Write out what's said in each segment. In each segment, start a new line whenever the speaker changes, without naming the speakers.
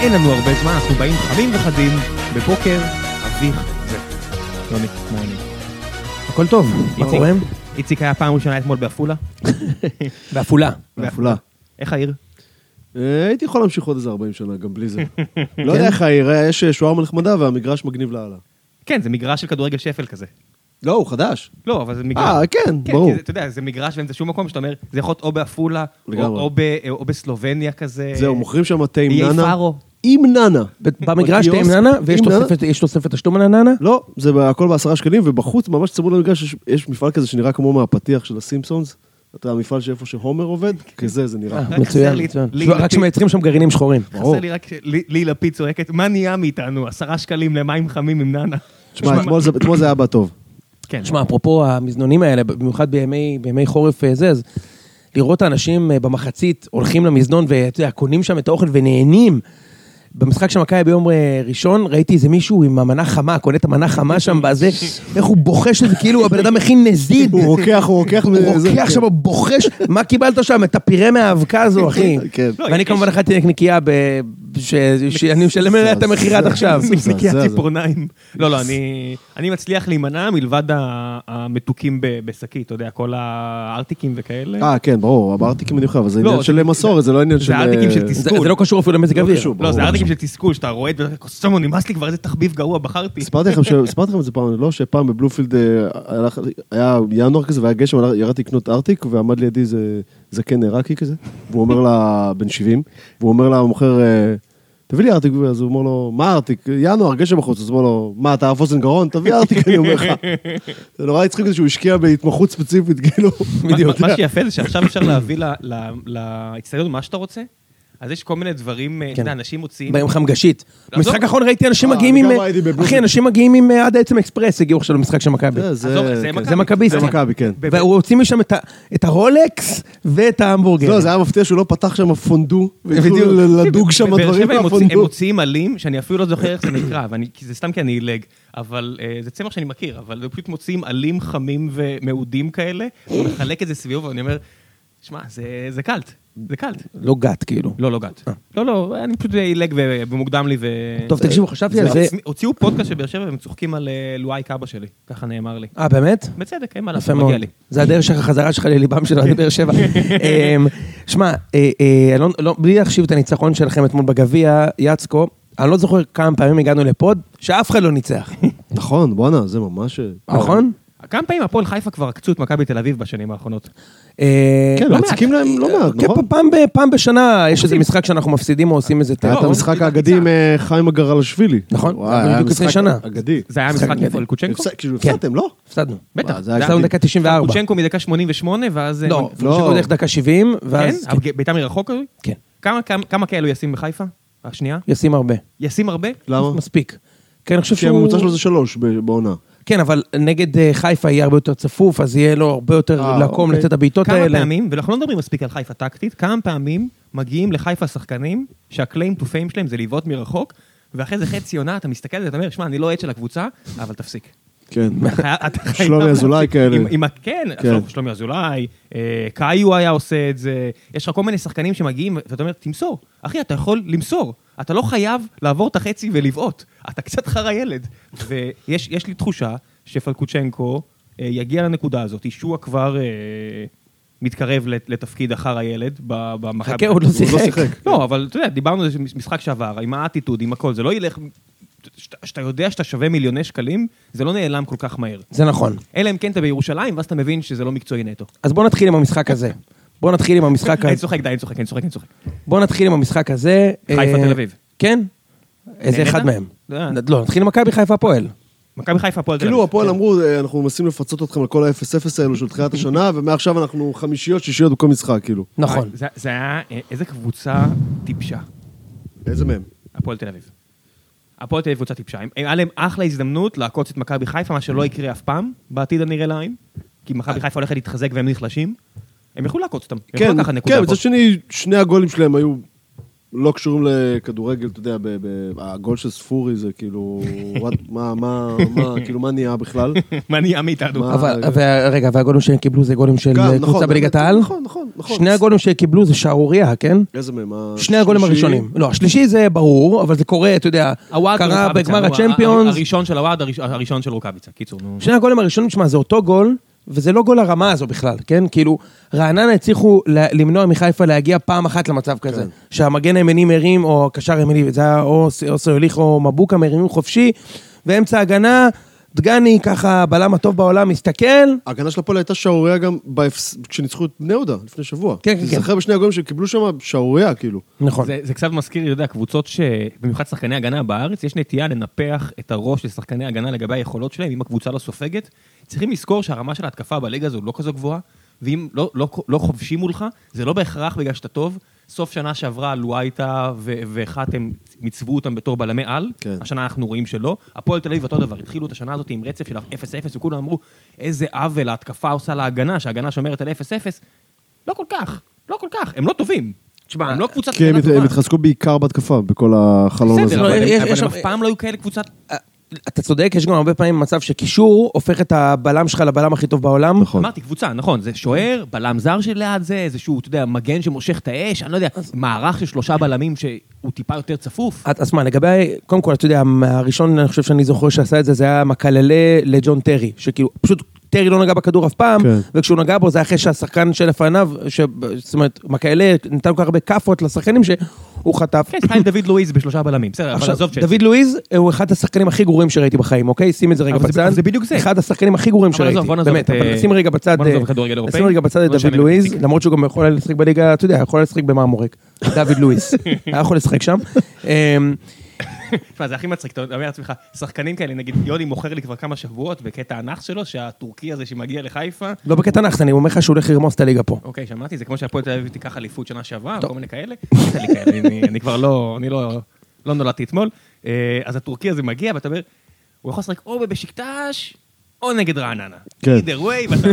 אין לנו הרבה זמן, אנחנו באים חמים וחדים, בבוקר, אביך זה. נעמי, מה העניינים?
הכל טוב, מה
איציק.
קורה?
איציק היה פעם ראשונה אתמול בעפולה.
בעפולה.
בעפולה.
איך העיר?
אה, הייתי יכול להמשיך עוד איזה 40 שנה, גם בלי זה. לא יודע איך העיר, אה, יש אה, שוארמה נחמדה והמגרש מגניב לאללה.
כן, זה מגרש של כדורגל שפל כזה.
לא, הוא חדש.
לא, אבל זה מגרש.
אה, כן,
כן,
ברור.
כי זה- אתה יודע, זה מגרש ואין זה שום מקום, שאתה אומר, זה יכול להיות או בעפולה, או-
לגמרי.
או ב- או בסלובניה כזה.
אה, זהו, מוכרים שם תה עם
איי
ננה.
פארו.
עם ננה.
במגרש תהיה עם
בקיוסק,
ננה, ויש
עם
לא-
ננה.
תוספת- יש תוספת תשלום על הננה?
לא, זה ב- הכל בעשרה שקלים, ובחוץ, ממש צמוד למגרש, יש- יש מפעל כזה שנראה כמו מהפתיח של הסימפסונס. אתה המפעל שאיפה שהומר עובד, כזה זה נראה.
אה,
רק חסר
מצוין,
לי-
מצוין.
לי-
רק שמייצרים שם גרעינים שחורים.
חסר לי רק לי- לי לפיד צועקת, מה נהיה מאיתנו? עשרה שקלים למים חמים עם ננה.
תשמע, אתמול זה- אתמול זה היה בא טוב.
כן.
תשמע, אפרופו המזנונים האלה, במיוחד בימי, בימי חורף אה, זה, אז לראות את האנשים אה, במחצית הולכים למזנון ואתה יודע, קונים שם את האוכל ונהנים. במשחק של מכבי ביום אה, ראשון, ראיתי איזה מישהו עם המנה חמה, קונה את המנה חמה שם בזה, איך הוא בוחש את זה, כאילו הבן אדם מכין נזיד.
הוא רוקח, הוא רוקח.
הוא
מזה,
רוקח
כן.
שם, הוא בוחש, מה קיבלת שם? את הפירה מהאבקה הזו, אחי.
כן.
לא,
ואני
יש-
כמובן אכלתי נקניקייה ב- ש- שאני משלם עליה את המחיר עד עכשיו.
נקניקיית
זה- זה-
ציפורניים. לא, לא, אני- אני מצליח להימנע מלבד ה- המתוקים ב- בשקית, אתה יודע, כל הארטיקים וכאלה.
אה, כן, ברור, הארטיקים אני חייב, אבל זה
לא,
עניין
זה-
של מסורת, זה לא עניין
זה
של...
הארטיקים של
אה,
תסכול.
זה זה לא קשור אפילו למזג אוויר.
קשור.
לא, זה
ברור.
ארטיקים של תסכול, שאתה רועד ואתה אומר, סומו, נמאס לי כבר, איזה תחביב גרוע בחרתי.
סיפרתי לכם, ש- סיפרתי לכם את זה פעם, לא? שפעם בבלומפילד אה, הלך- היה ינואר כזה והיה גשם, הלך- ירדתי לקנות ארטיק ועמד לידי איזה זקן עיראקי כזה, והוא אומר לה, בן 70, והוא אומר לה, המוכר, אה, תביא לי ארטיק, אז הוא אומר לו, מה ארטיק? ינואר, גשם בחוץ, אז הוא אומר לו, מה, אתה אף אוזן גרון? תביא ארטיק, אני אומר לך. זה נורא הצחיק אותי שהוא השקיע בהתמחות ספציפית, כאילו.
מה- מה שיפה זה שעכשיו אפשר להביא ל- ל- לאצטדיון מה שאתה רוצה, אז יש כל מיני דברים,
כן.
אה, אתה יודע, אנשים מוציאים...
באים חמגשית.
לעזוב.
במשחק האחרון ראיתי אנשים
אה,
מגיעים
אני
עם...
גם ראיתי בבלומפילד.
אחי, אנשים מגיעים עם אה, עד העצם אקספרס הגיעו עכשיו למשחק של מכבי.
עזוב, זה לא
כן.
מכבי.
זה מכביסטים.
זה מכבי, כן.
ב-
והוא הוציא משם את ה- את הרולקס ואת ההמבורגר.
לא, זה היה מפתיע שהוא לא פתח שם פונדו,
בדיוק.
והתחילו ל- לדוג שם
בבאר
דברים
שבע הם מוציא- הם
מהפונדו.
מוציאים עלים, שאני אפילו לא זוכר איך זה נקרא, ואני- כי זה סתם כי אני עילג, אבל אה, זה צמח שאני מכיר, אבל הם פשוט מוציאים עלים חמים ומעודים כאלה, הוא מחלק את זה סביבו, ואני אומר, שמע, זה- זה קלט, זה קלט.
לא גת, כאילו.
לא, לא גת. לא, לא, אני פשוט עילג ו- ומוקדם לי ו...
טוב, תקשיבו, חשבתי על זה...
הוצ- הוציאו פודקאסט של באר שבע והם צוחקים על אה, לואי קאבה שלי, ככה נאמר לי.
אה, באמת?
בצדק, אין מה
יפה
לעשות,
מאוד.
מגיע לי.
זה הדרך שלך, החזרה שלך לליבם של אוהדי באר שבע. אמ, שמע, אה, אה, אלון- לא- בלי להחשיב את הניצחון שלכם אתמול בגביע, יצקו, אני לא זוכר כמה פעמים הגענו לפוד, שאף אחד לא ניצח,
נכון, בואנה, זה ממש... אה,
נכון?
כמה פעמים הפועל חיפה כבר עקצו את מכבי תל אביב בשנים האחרונות?
אה,
כן,
לא
מציקים
מעט.
להם לא מעט,
כן,
נכון?
פעם ב- פעם בשנה יש איזה משחק שאנחנו מפסידים או עושים איזה
היה
טרור.
את המשחק האגדי עם אה, חיים אגרלשווילי.
נכון,
וואי, היה
בדיוק לפני
משחק
שנה.
אגדי.
זה היה
משחק
משחק
נהדר.
עם קוצ'נקו?
הפס- כאילו
כן.
הפסדתם, לא?
הפסדנו.
בטח.
מה, זה
זה
היה
היה
הפסדנו דקה 94.
קוצ'נקו מדקה 88, ואז... אה,
לא,
מג-
לא.
פרושקו דרך דקה 70,
כן?
ואז... כן,
הג- בעיטה מרחוק? הזו?
כן,
כמה- כמה- כמה כאלו ישים בחיפה? השנייה?
ישים הרבה.
ישים הרבה?
לא,
למה?
מספיק. כן, אני חושב
כי
שהוא...
הממוצע שלו זה שלוש ב- בעונה.
כן, אבל נגד אה, חיפה יהיה הרבה יותר צפוף, אז יהיה לו הרבה יותר
אה,
לקום
אוקיי.
לתת את הבעיטות
כמה
האלה.
פעמים, ואנחנו לא מדברים מספיק על חיפה טקטית, כמה פעמים מגיעים לחיפה שחקנים שהקליים טו פיים שלהם זה לבעוט מרחוק, ואחרי זה חצי עונה אתה מסתכל על זה ואתה אומר, שמע, אני לא עד של הקבוצה, אבל תפסיק.
כן.
אתה חי- אתה חייב
שלומי אזולאי
להפסיק.
כאלה.
עם- עם ה- כן,
כן.
שלום- שלומי אזולאי, אה, קאיו היה עושה את זה, יש לך כל מיני שחקנים שמגיעים, ואתה אומר, תמסור. אחי, אתה יכול למסור. אתה לא חייב לעבור את החצי ולבעוט. אתה קצת חרא ילד. ויש יש לי תחושה שפלקוצ'נקו אה, יגיע לנקודה הזאת, שהוא כבר אה, מתקרב לת- לתפקיד אחר הילד ב- במכבי.
חכה, עוד לא שיחק.
לא, אבל אתה יודע, דיברנו על זה משחק שעבר, עם האטיטוד, עם הכל, זה לא ילך... שאתה- שאתה יודע שאתה שווה מיליוני שקלים, זה לא נעלם כל כך מהר.
זה נכון.
אלא אם כן אתה בירושלים, ואז אתה מבין שזה לא מקצועי נטו.
אז בוא נתחיל עם המשחק הזה. בוא נתחיל עם המשחק
כן.
אני
הזה.
צוחק, די, אני צוחק, אני צוחק, אני צוחק.
בוא נתחיל עם המשחק הזה.
חיפה,
אה,
תל אביב.
כן? איזה
נהנית?
אחד מהם.
אה.
לא, נתחיל עם מכבי חיפה הפועל.
מכבי חיפה, הפועל תל אביב.
כאילו הפועל אמרו, אה, אנחנו מנסים לפצות אתכם על כל ה-0-0 האלו של תחילת השנה, ומעכשיו אנחנו חמישיות, שישיות בכל משחק, כאילו.
נכון.
זה- זה היה, אה, איזה קבוצה טיפשה,
איזה מהם?
הפועל תל אביב. הפועל תל אביב קבוצה טיפשה. הם- היה להם אחלה הזדמנות לעקוץ את מכבי חיפה, מה
Mm.
שלא יקרה אף פעם, בעתיד הנראה לעין. כי מכבי חיפה הולכת להתחזק והם נחלשים. הם יכלו לעקוץ אותם. הם יכלו
אה. כן,
לקחת נקודה
כן,
פה.
מצד שני, שני הגולים שלהם היו לא קשורים לכדורגל, אתה יודע, ב- ב- הגול של ספורי זה כאילו, what- מה, מה, מה, כאילו, מה נהיה בכלל?
מה נהיה מאיתנו?
מה?
אבל, וה- רגע, והגולים שהם קיבלו זה גולים של
אה, גם,
אה,
נכון,
קבוצה בליגת
באמת,
העל?
נכון, נכון. נכון.
שני הגולים שקיבלו זה שערורייה, כן?
איזה מהם?
שני הגולים
השלישי?
הראשונים. לא, השלישי זה ברור, אבל זה קורה, אתה יודע,
הוואד
קרה
ורוקאביצה,
בגמר
נו,
הצ'מפיונס.
הראשון של הוואד, הראש- הראשון של רוקאביצה. קיצור, נו.
שני הגולים הראשונים, תשמע, זה אותו גול, וזה לא גול הרמה הזו בכלל, כן? כאילו, רעננה הצליחו ל- למנוע מחיפה להגיע פעם אחת למצב כזה.
כן.
שהמגן הימני מרים, או הקשר הימני, זה היה או ס- או סוליך או מבוקה מרימים חופשי, ואמצע הגנה, דגני, ככה, הבלם הטוב בעולם, מסתכל,
ההגנה של הפועל הייתה שערורייה גם בהפס... כשניצחו את בני יהודה לפני שבוע.
כן, כן, כן.
תזכר בשני הגולים שקיבלו שם שערורייה, כאילו.
נכון.
זה, זה קצת מזכיר, אתה יודע, קבוצות ש... במיוחד שחקני הגנה בארץ, יש נטייה לנפח את הראש של שחקני הגנה לגבי היכולות שלהם, אם הקבוצה לא סופגת. צריכים לזכור שהרמה של ההתקפה בליגה הזו לא כזו גבוהה, ואם לא, לא, לא חובשים מולך, זה לא בהכרח בגלל שאתה טוב. סוף שנה שעברה לואייטה ו- וחתם מיצבו אותם בתור בלמי על,
כן.
השנה אנחנו רואים שלא. הפועל תל אביב אותו דבר, התחילו את השנה הזאת עם רצף של 0-0, וכולם אמרו, איזה עוול ההתקפה עושה להגנה, שההגנה שומרת על 0-0. לא כל כך, לא כל כך, הם לא טובים.
תשמע,
הם לא קבוצת
כי הם
הגנה
הת-
טובה.
הם התחזקו בעיקר בהתקפה, בכל החלון הזה.
בסדר, אבל
לא, יש-
הם- אבל
יש
הם
שם-
אף פעם לא היו כאלה קבוצת...
אתה צודק, יש גם הרבה פעמים מצב שקישור הופך את הבלם שלך לבלם הכי טוב בעולם.
נכון.
אמרתי, קבוצה, נכון, זה שוער, בלם זר שליד זה, איזשהו, אתה יודע, מגן שמושך את האש, אני לא יודע, מערך של שלושה בלמים שהוא טיפה יותר צפוף.
אז- אז מה, לגבי, קודם כל, אתה יודע, הראשון, אני חושב שאני זוכר שעשה את זה, זה היה מקללה לג'ון טרי, שכאילו, פשוט טרי לא נגע בכדור אף פעם,
כן.
וכשהוא נגע בו זה היה אחרי שהשחקן שלפניו, ש- זאת אומרת, מקללה נתן כל כך הרבה כאפות לשחקנים שהוא חטף.
כן, סתם דוד לואיז בשלושה בלמים, בסדר, אבל
עכשיו,
עזוב ש...
דוד לואיז הוא אחד השחקנים הכי גרועים שראיתי בחיים, אוקיי? שים את זה רגע
אבל זה-
בצד.
אבל זה בדיוק זה.
אחד השחקנים הכי גרועים
אבל עזוב,
שראיתי,
בוא נעזוב
באמת,
את,
אבל
אה,
נשים רגע בצד...
בוא נעזוב
אה,
כדורגל אירופאי.
נשים רגע בצד את
לא משנה
דוד
מי
לואיז,
מציק.
למרות שהוא גם יכול היה לשחק בליגה, אתה יודע, יכול היה לשחק במרמורק. דוד לואיז, היה יכול לשחק שם. אמ,
תשמע, זה הכי מצחיק, אתה אומר לעצמך, שחקנים כאלה, נגיד, יוני מוכר לי כבר כמה שבועות בקטע הנאחס שלו, שהטורקי הזה שמגיע לחיפה,
לא בקטע נחס, אני אומר לך שהוא הולך לרמוס את הליגה פה.
אוקיי, שמעתי, זה כמו שהפועל תל אביב תיקח אליפות שנה שעברה, כל מיני כאלה. אין לי כאלה, אני- אני כבר לא, אני לא, לא נולדתי אתמול. אה, אז הטורקי הזה מגיע, ואתה אומר, הוא יכול לשחק או בבשיקטש, או נגד רעננה.
כן.
אידר ווי, ואז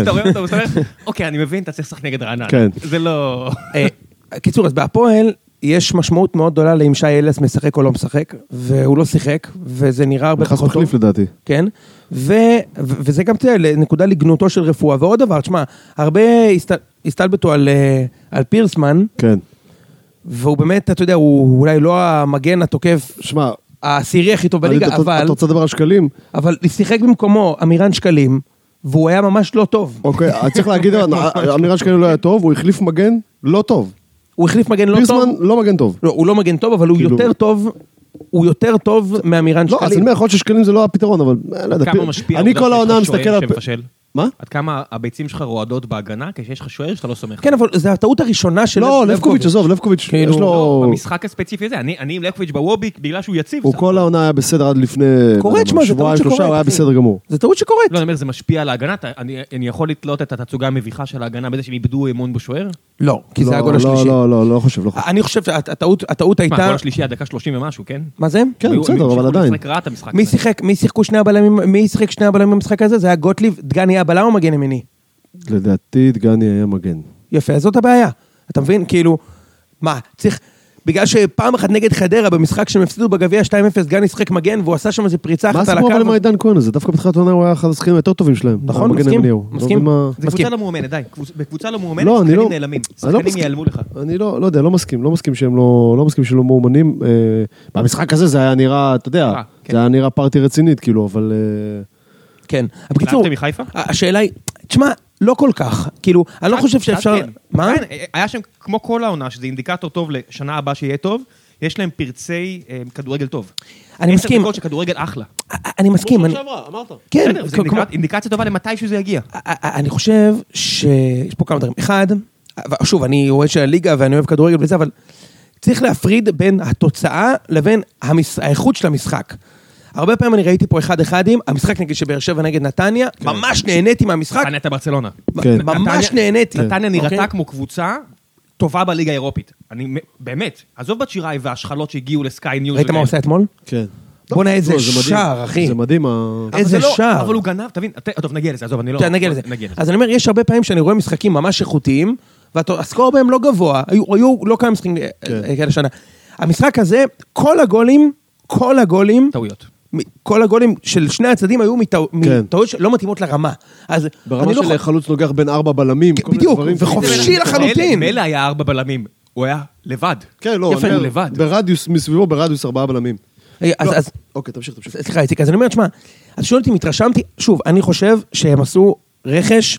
אתה רואה אותו, ואתה אומר, אוקיי, אני מבין, אתה צריך לשחק נגד רעננה.
כן.
זה לא...
אה, קיצור, אז בהפועל יש משמעות מאוד גדולה לאם שי אלס משחק או לא משחק, והוא לא שיחק, וזה נראה הרבה
נכנס
פחות טוב.
מחליף לדעתי.
כן, ו, ו, וזה גם תראה, נקודה לגנותו של רפואה. ועוד דבר, תשמע, הרבה הסת, הסתלבטו על, אה, על פירסמן,
כן.
והוא באמת, אתה יודע, הוא אולי לא המגן התוקף
שמע,
העשירי הכי טוב בליגה,
אני- אתה-
אבל,
אתה רוצה לדבר על שקלים?
אבל שיחק במקומו אמירן שקלים, והוא היה ממש לא טוב.
אוקיי, אז צריך להגיד, אמירה שקלים לא היה טוב, הוא החליף מגן לא טוב.
הוא החליף מגן לא טוב.
פירסמן לא מגן טוב.
לא, הוא לא מגן טוב, אבל הוא
כאילו-
יותר טוב, הוא יותר טוב מאמירן
לא, אז אני
שקלים.
אומר, יכול להיות ששקלים זה לא הפתרון, אבל אה, לא יודע.
כמה
פיר-
משפיע
אני
העובדה
כל
שיש לך
העונה
שוער
מסתכל על...
שמפשל?
מה?
עד כמה הביצים שלך רועדות בהגנה, כשיש לך שוער שאתה לא סומך.
כן, אבל זו הטעות הראשונה של
לא, לבקוביץ', עזוב, לבקוביץ',
כאילו,
יש
לא,
לו...
במשחק הספציפי הזה, אני אני עם לקוביץ' בוובי, בגלל שהוא יציב.
הוא
סך
כל העונה היה בסדר עד לפני... אה,
קורה, תשמע, זה טעות
שבועיים,
שקורית.
שלושה, הוא היה
אחי.
בסדר גמור.
זה טעות שקורית.
לא, אני אומר, זה משפיע על ההגנה? אתה- אני אני יכול לתלות את התצוגה המביכה של ההגנה בזה שהם איבדו אמון בשוער?
לא, כי זה
לא,
הגול
לא,
השלישי. אה.
לא, לא, לא חושב, לא חושב.
אני חושב שהטעות הטעות
מה,
הייתה...
הגול השלישי עד דקה 30 ומשהו, כן?
מה זה?
כן,
היו-
בסדר,
הם
אבל
המשיכו
עדיין.
לשחק רע את המשחק
מי
הזה.
שיחק, מי שיחקו שני הבלמים, מי שיחק שני הבלמים במשחק הזה? זה היה גוטליב, דגני היה בלם או מגן ימיני?
לדעתי, דגני היה מגן.
יפה, אז זאת הבעיה. אתה מבין? כאילו, מה, צריך... בגלל שפעם אחת נגד חדרה, במשחק שהם הפסידו בגביע 2-0, דגני שיחק מגן, והוא עשה שם איזה פריצה
מה
אחת על
הסיפור
הקו.
אבל עם העידן כהן הזה? דווקא בתחילת העונה הוא היה אחד השחקנים היותר טובים שלהם.
נכון,
המגן
מסכים,
הימני הוא. לא
מסכים.
מבין מה-
זה קבוצה
מסכים.
לא מאומנת, די. קבוצ- בקבוצה לא מאומנת,
לא, אני לא...
שחקנים נעלמים.
אני לא
שחקנים
מסכים.
ייעלמו לך.
אני לא, לא יודע, לא מסכים, לא מסכים שהם לא, לא מסכים שהם לא מאומנים. אה, במשחק הזה זה היה נראה, אתה יודע,
אה, כן.
זה היה נראה פארטי רצינית, כאילו, אבל... אה,
כן. אבל בקיצור,
התלהבתם מחיפה?
השאלה היא, תשמע, לא כל כך. כאילו, אני לא חושב
אז- אז
שאפשר...
כן.
מה?
עדיין, היה שם, כמו כל העונה, שזה אינדיקטור טוב לשנה הבאה שיהיה טוב, יש להם פרצי אה, כדורגל טוב.
אני מסכים.
עשר דקות שכדורגל אחלה.
אני מסכים. אני-
אמרת.
כן,
בסדר, זה
כמו-
אינדיקט- אינדיקציה טובה למתי שזה יגיע.
א- א- אני חושב שיש פה כמה דברים. אחד, ו- שוב, אני אוהד של הליגה ואני אוהב כדורגל וזה, אבל צריך להפריד בין התוצאה לבין המש... האיכות של המשחק. הרבה פעמים אני ראיתי פה אחד-אחדים, המשחק נגיד שבאר שבע נגד נתניה, ממש נהניתי מהמשחק,
נתניה אתה ברצלונה.
כן.
מ- ממש
נתניה-
נהניתי.
נתניה נראתה
אוקיי?
כמו קבוצה טובה בליגה האירופית. אני מ- באמת, עזוב בת שיראי וההשחלות שהגיעו לסקיי ניוז.
ראית מה הוא עשה אתמול?
כן.
בואנה, איזה
לא, זה מדהים.
שער, אחי.
זה מדהים, ה-
אבל
איזה
זה לא-
שער.
אבל הוא גנב, תבין, ת- טוב, נגיע לזה, עזוב, אני לא...
אתה נגיע לזה.
נגיע לזה.
אז אני אומר, יש הרבה פעמים שאני רואה משחקים ממש איכותיים, והסקור בהם לא גבוה, היו- היו לא כמה משחקים אה,
כן.
אה, כאלה שנה. המשחק הזה, כל הגולים, כל הגולים,
טעויות.
מ- כל הגולים של שני הצדדים היו מטעו-
כן.
מטעויות שלא מתאימות לרמה. אז
ברמה
אני לא
של
יכול-
חלוץ נוגח בין ארבע בלמים, כל מיני
בדיוק,
דברים.
וחופשי לחלוטין.
מילא היה ארבע בלמים, הוא היה לבד.
כן, לא,
יפה, הוא
אני אומר,
לבד.
ברדיוס, מסביבו ברדיוס ארבעה בלמים.
רגע, אה, אז-
לא,
אז אה,
אוקיי, תמשיך, תמשיך.
סליחה, איציק, אז אני אומר, תשמע, אז שואל אותי אם התרשמתי, שוב, אני חושב שהם עשו רכש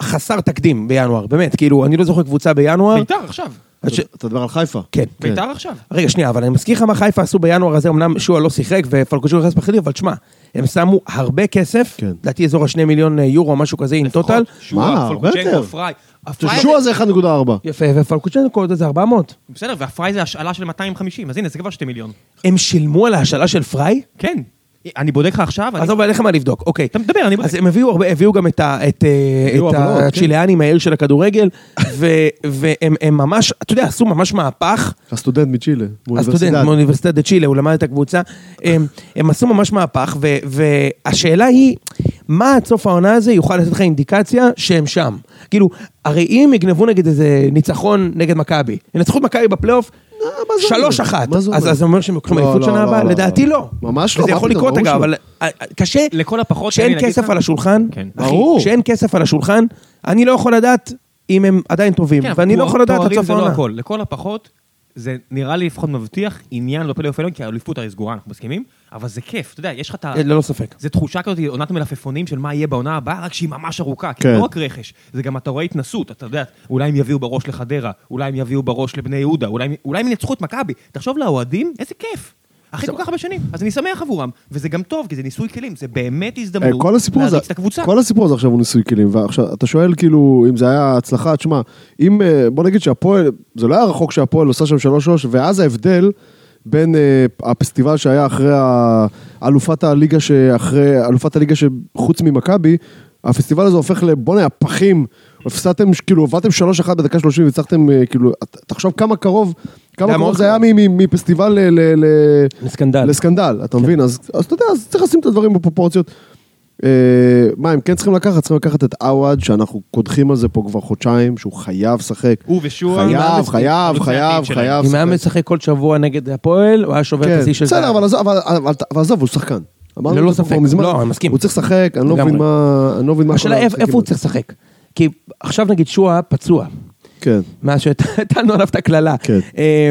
חסר תקדים בינואר, באמת, כאילו, אני לא זוכר קבוצה בינואר.
ביתר עכשיו,
אז ש-
אתה- אתה מדבר על חיפה.
כן.
ביתר עכשיו.
רגע, שנייה, אבל אני מזכיר לך מה חיפה עשו בינואר הזה, אמנם שועה לא שיחק ופלקוז'ו נכנס בחילוף, אבל תשמע, הם שמו הרבה כסף,
כן.
לדעתי אזור השני מיליון אה, יורו, משהו כזה, עם טוטל.
מה, הרבה
נכון, פולקצ'נקו,
יותר.
פריי. הפריי-
שועה זה 1.4.
יפה, ופלקוצ'נקו זה 400.
בסדר, והפריי זה השאלה של 250, אז הנה, זה כבר 2 מיליון.
הם שילמו על ההשאלה של פריי?
כן. אני בודק לך עכשיו, אני-
עזוב, אין לך מה לבדוק, אוקיי.
אתה מדבר, אני בודק.
אז הם הביאו הרבה, הביאו גם את ה- את, אה,
הביאו
את
הבנות, כן.
הצ'יליאנים מהעיר של הכדורגל, ו- והם הם ממש, אתה יודע, עשו ממש מהפך.
הסטודנט מצ'ילה.
הסטודנט
מאוניברסיטת.
מאוניברסיטת דה צ'ילה, הוא למד את הקבוצה. הם, הם עשו ממש מהפך, ו, והשאלה היא, מה עד סוף העונה הזה יוכל לתת לך אינדיקציה שהם שם? כאילו, הרי אם יגנבו נגיד איזה ניצחון נגד מכבי, ינצחו את מכבי בפלייאוף,
אה, מה זה אומר?
שלוש אחת,
מה זה אומר?
אז אז זה אומר שהם לוקחים
לא,
אליפות
לא,
שנה
לא,
הבאה?
לא,
לדעתי
לא.
לא.
ממש לא,
וזה
מה
יכול
פתאום,
לקרות
ברור
אגב,
שלא.
אבל אה, אה, קשה,
לכל הפחות, תן לי
כשאין
להגיד
כסף
לך-
על השולחן, אה,
כן.
אחי,
ברור.
כשאין כסף על השולחן, אני לא יכול לדעת אם הם עדיין טובים,
כן, אבל
ואני לא
תואר-
יכול לדעת עד
תוארים
סוף
זה לא
העונה.
הכל. לכל הפחות, זה נראה לי לפחות מבטיח עניין בפלייאוף העליון, כי האליפות הרי סגורה, אנחנו מסכימים, אבל זה כיף, אתה יודע, יש לך את ה...
אה, ללא ספק.
זה תחושה כזאת, עונת מלפפונים של מה יהיה בעונה הבאה, רק שהיא ממש ארוכה. כי
כן.
זה לא רק רכש, זה גם אתה רואה התנסות, אתה יודע, אולי הם יביאו בראש לחדרה, אולי הם יביאו בראש לבני יהודה, אולי, הם- אולי הם ינצחו את מכבי. תחשוב לאוהדים, איזה כיף. אחרי כל כך הרבה שנים, אז אני שמח עבורם. וזה גם טוב, כי זה ניסוי כלים, זה באמת
אה,
הזדמנות
כל הסיפור הזה,
להריץ את הקבוצה.
כל הסיפור הזה עכשיו הוא ניסוי כלים, ועכשיו אתה שואל כאילו אם זה היה הצלחה, תשמע, אם אה, בוא נגיד שהפועל, זה לא היה רחוק שהפועל עושה שם שלוש שלוש, ואז ההבדל בין אה, הפסטיבל שהיה אחרי ה- אלופת הליגה שאחרי, אלופת הליגה שחוץ ממכבי, הפסטיבל הזה הופך לבואנה הפחים, הפסדתם, כאילו הובלתם שלוש אחת בדקה שלושים והצלחתם, אה, כאילו, ת- תחשוב כמה קרוב,
זה
כמה
היה
קרוב
מאוד
זה היה מ- מ- מפסטיבל ל- ל... ל-
לסקנדל.
לסקנדל, אתה מבין? אז אז אתה יודע, אז צריך לשים את הדברים בפרופורציות. אה, מה הם כן צריכים לקחת? צריכים לקחת את עווד, שאנחנו קודחים על זה פה כבר חודשיים, שהוא חייב לשחק.
הוא ושועה.
חייב,
חלוצי
חייב,
העתיד
חייב,
שלהם.
חייב.
אם היה
לשחק.
משחק כל שבוע נגד הפועל, הוא היה שובר את
כן,
השיא של
בסדר,
זהב.
אבל עזוב, אבל- אבל- אבל עזוב, הוא שחקן. אמרנו
ללא
את זה פה
ספק.
כבר מזמן.
לא, אני מסכים.
הוא צריך לשחק, אני לא
לגמרי.
מבין מה... אני לא מבין מה... כל
השאלה איפה
המשחקים
איפה הוא
האלה.
צריך לשחק. כי עכשיו נגיד שועה פצוע,
כן.
מאז שהטלנו עליו את הקללה.
כן.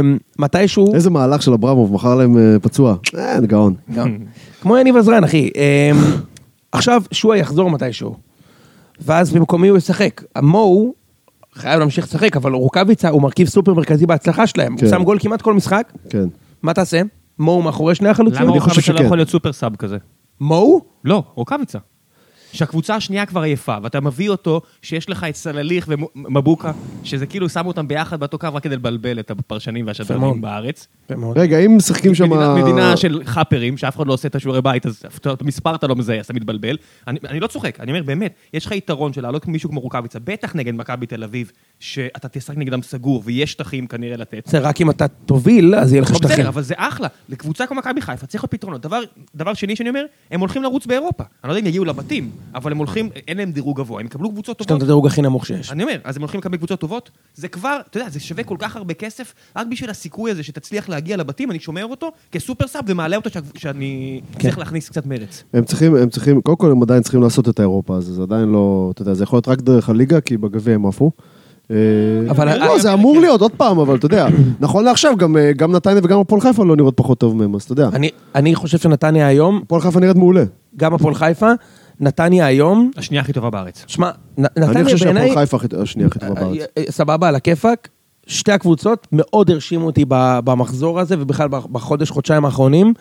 אמ, מתישהו...
איזה מהלך של אברמוב, מכר להם אה, פצוע. אה, אני גאון.
גם. כמו יניב עזרן, אחי. אמ, עכשיו שועה יחזור מתישהו, ואז במקומי הוא ישחק. מו חייב להמשיך לשחק, אבל רוקאביצה הוא מרכיב סופר מרכזי בהצלחה שלהם. הוא
כן.
שם גול כמעט כל משחק,
כן.
מה תעשה? מו מאחורי שני החלוצים?
למה
אני חושב
רוקאביצה לא
שכן.
יכול להיות סופר סאב כזה?
מו?
לא, רוקאביצה. שהקבוצה השנייה כבר עייפה, ואתה מביא אותו שיש לך את סלליך ומבוקה, שזה כאילו שמו אותם ביחד באותו קו רק כדי לבלבל את הפרשנים
יפה מאוד.
והשדרנים בארץ.
רגע, אם משחקים שם...
מדינה, מדינה של חאפרים, שאף אחד לא עושה את השיעורי בית, אז אתה- את המספר אתה לא מזהה, אז אתה מתבלבל. אני, אני לא צוחק, אני אומר, באמת, יש לך יתרון של לעלות מישהו כמו רוקאביצה, בטח נגד מכבי תל אביב, שאתה תשחק נגדם סגור, ויש שטחים כנראה לתת.
זה רק אם אתה תוביל, אז יהיה לך
לא,
שטחים.
בסדר, אבל זה אחלה. לקבוצה כמו מכבי חיפה צריך להיות פתרונות. דבר, דבר שני שאני אומר, הם הולכים לרוץ באירופה. אני לא יודע אם יגיעו לבתים, אבל הם הולכים, אין להם דירוג גבוה, הם יקבלו קבוצות
יש להם
טובות.
את הדירוג הכי נמוך שיש.
אני אומר, אז הם הולכים לקבל קבוצות טובות? זה כבר, אתה יודע, זה שווה כל כך הרבה כסף, רק בשביל הסיכוי הזה שתצליח להגיע לבתים, אני שומר אותו כסופר סאב ומעלה אותו שה- שאני
כן.
צריך להכניס קצת מרץ.
הם צריכים, הם צריכים, קודם כל הם עדיין צריכים לעשות את האירופה, אז זה עדיין לא, אתה יודע, זה יכול להיות רק דרך הליגה, כי בגביע הם עפו. אה,
אבל- כן.
לא, זה אמור להיות, עוד פעם, אבל אתה יודע, נכון לעכשיו, גם, אה, גם נתניה וגם הפועל חיפה לא נראות פחות טוב מהם, אז אתה יודע,
אני, אני חושב שנתניה היום,
הפועל חיפה נראית מעולה.
גם הפועל חיפה, נתניה היום,
השנייה הכי טובה בארץ.
שמע, נ-
אני
נתניה
חושב שהפועל
בעיניי,
חיפה הכי- השנייה הכי טובה בארץ.
אה, אה, סבבה, על הכיפאק, שתי הקבוצות מאוד הרשימו אותי ב- במחזור הזה, ובכלל בח- בחודש, חודשיים האחרונים,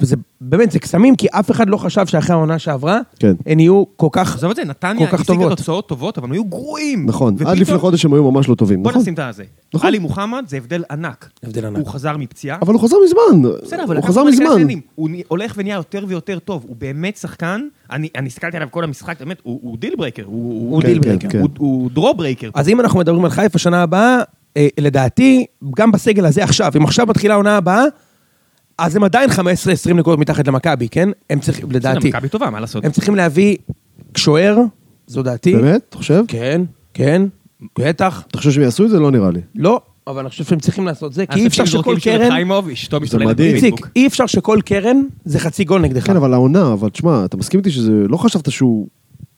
וזה באמת, זה קסמים, כי אף אחד לא חשב שאחרי העונה שעברה,
כן.
הן יהיו כל כך,
עזוב את זה,
כל
נתניה
כך
השיגה
טובות.
תוצאות טובות, אבל הם היו גרועים.
נכון, עד
ופתאום-
לפני חודש הם היו ממש לא טובים,
בוא
נכון?
נשים את הזה.
נכון.
עלי מוחמד זה הבדל ענק.
הבדל ענק.
הוא חזר מפציעה.
אבל הוא חזר מזמן,
בסדר, אבל
הוא
לקח
חזר
זמן
מזמן.
להיכנס לעניינים. הוא נ- הולך ונהיה יותר ויותר טוב, הוא באמת שחקן, אני אני הסתכלתי עליו כל המשחק, באמת, הוא הוא דיל ברייקר, הוא הוא
כן,
דיל
כן,
ברייקר,
כן.
הוא- הוא דרו ברייקר.
אז אם אנחנו מדברים על חיפה שנה הבאה, אה, לדעתי, גם בסגל הזה עכשיו, אם עכשיו מתחילה העונה הבאה, אז הם עדיין 15-20 נקודות מתחת למכבי, כן? הם צריכים,
בסדר,
לדעתי.
מכבי טובה, מה לעשות?
הם צריכים להביא שוער, זו דעתי.
באמת? אתה חושב?
כן, כן, בטח.
אתה חושב שהם יעשו את זה? לא נראה לי.
לא, אבל אני חושב שהם צריכים לעשות
אה,
זה, כי אי אפשר
עסקים
שכל
זורקים כאילו של
קרן...
חיימוב, אשתו משתוללת
מדהים.
בפייסבוק.
איציק, אי אפשר שכל קרן זה חצי גול נגדך.
כן, אבל העונה, אבל תשמע, אתה מסכים איתי שזה, לא חשבת שהוא,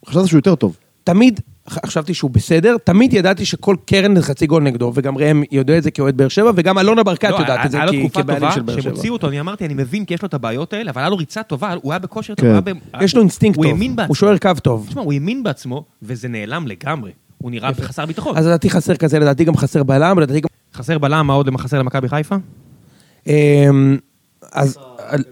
חשבת שהוא יותר טוב.
תמיד ח- חשבתי שהוא בסדר, תמיד ידעתי שכל קרן זה חצי גול נגדו, וגם ראם יודע את זה כאוהד באר שבע, וגם אלונה ברקת
לא,
יודעת את זה
היה לו
כי-
תקופה
כבעלים
טובה
של באר
שהם
שבע.
הוציאו אותו, אני אמרתי, אני מבין כי יש לו את הבעיות האלה, אבל היה לו ריצה טובה, הוא היה בכושר טוב.
כן.
הוא היה ב-
יש לו אינסטינקט
הוא
טוב,
האמין בעצמו.
הוא שוער קו טוב.
תשמע, הוא האמין בעצמו, וזה נעלם לגמרי. הוא נראה חסר ביטחון.
אז לדעתי חסר כזה, לדעתי גם חסר בלם, לדעתי גם...
חסר בלם, מה עוד חסר למכבי חיפה?
אמ, אז... על-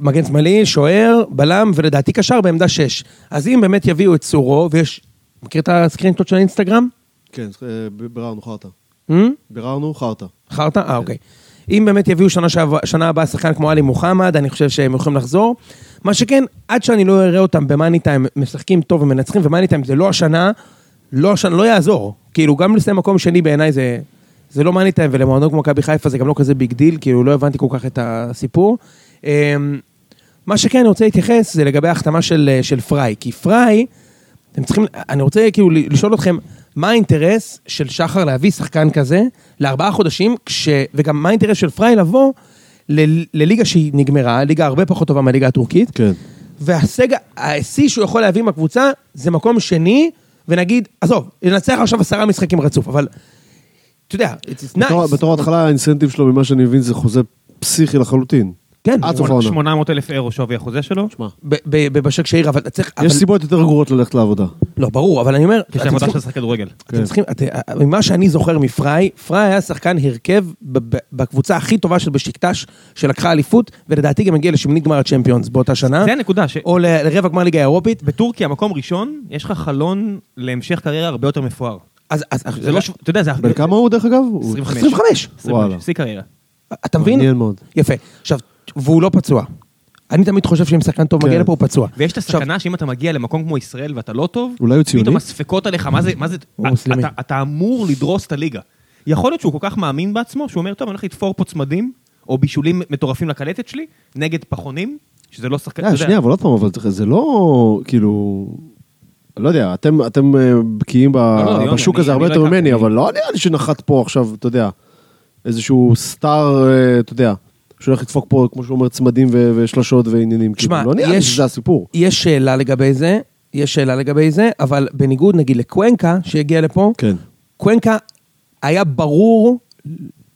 מגן שמאלי, שוער, בלם, ולדעתי קשר בעמדה 6. אז אם באמת יביאו את סורו, ויש... מכיר את הסקרינטות של האינסטגרם?
כן, אה, ב- ביררנו חרטא.
אמ?
ביררנו חרטא.
חרטא? אה, אוקיי. אם באמת יביאו שנה, שעבר, שנה הבאה שחקן כמו עלי מוחמד, אני חושב שהם יכולים לחזור. מה שכן, עד שאני לא אראה אותם במאני טיים משחקים טוב ומנצחים, ומאני טיים זה לא השנה, לא השנה, לא יעזור. כאילו, גם לסיים מקום שני בעיניי זה, זה לא מאני טיים, ולמועדון כמו מכבי חיפה זה גם לא כזה ביג דיל, כאילו, לא הבנתי כל כך את הסיפור. אמ, מה שכן, אני רוצה להתייחס, זה לגבי ההחתמה של, אה, של פריי, כי פריי, אתם צריכים, אני רוצה כאילו ל- לשאול אתכם, מה האינטרס של שחר להביא שחקן כזה לארבעה חודשים, כש... וגם מה האינטרס של פריי לבוא ל... לליגה שהיא נגמרה, ליגה הרבה פחות טובה מהליגה הטורקית,
כן.
וההישג, השיא שהוא יכול להביא מהקבוצה זה מקום שני, ונגיד, עזוב, לנצח עכשיו עשרה משחקים רצוף, אבל, אתה יודע, it's
בתור-
nice.
בתור ההתחלה האינסנטיב שלו, ממה שאני מבין, זה חוזה פסיכי לחלוטין.
כן,
עד סוף העונה.
800 אלף אירו שווי החוזה שלו.
ב- ב- בבשק שעיר, אבל אתה צריך... אבל-
יש סיבות יותר גרועות ללכת לעבודה.
לא, ברור, אבל אני אומר...
יש
אתם
להם עבודה
צריכים-
של שחק כדורגל.
אתם
כן.
צריכים, את, ממה שאני זוכר מפריי, פריי היה שחקן הרכב ב- ב- בקבוצה הכי טובה של בשיקטש, שלקחה אליפות, ולדעתי גם הגיע לשמינית גמר הצ'מפיונס באותה שנה,
זה הנקודה, ש-
או ל- לרבע גמר ליגה האירופית,
בטורקיה, מקום ראשון, יש לך חלון להמשך קריירה הרבה יותר מפואר.
אז, אז, אז
זה לא ש... אתה יודע, זה...
בן כמה הוא, דרך אגב? הוא-
25.
25.
25,
וואלה.
שיא קריירה.
אתה מבין?
מעניין מאוד.
יפה. עכשיו, והוא לא פצוע. אני תמיד חושב שאם שחקן טוב מגיע
כן.
לפה הוא פצוע.
ויש את
עכשיו,
הסכנה שאם אתה מגיע למקום כמו ישראל ואתה לא טוב,
אולי הוא ציוני?
פתאום הספקות עליך, מה זה, מה זה,
הוא
אתה-
מוסלמי.
אתה- אתה אמור לדרוס את הליגה. יכול להיות שהוא כל כך מאמין בעצמו, שהוא אומר, טוב, אני הולך לתפור פה צמדים, או בישולים מטורפים לקלטת שלי, נגד פחונים, שזה לא שחקן,
אה,
אתה יודע.
שנייה, אבל עוד פעם, אבל זה- זה לא, כאילו... לא יודע, אתם, אתם אה, בקיאים ב-
לא, יונה,
בשוק
אני-
הזה הרבה
אני
יותר
לא
ממני,
הכרתי.
אבל לא נראה לי שנחת פה עכשיו, אתה יודע, איזשהו סטאר, אה, אתה יודע, שהולך לדפוק פה, כמו שהוא אומר, צמדים ו- ושלשות ועניינים.
תשמע,
כאילו, לא נראה לי
יש-
שזה הסיפור.
יש שאלה לגבי זה, יש שאלה לגבי זה, אבל בניגוד נגיד לקוונקה, שהגיע לפה,
כן.
קוונקה היה ברור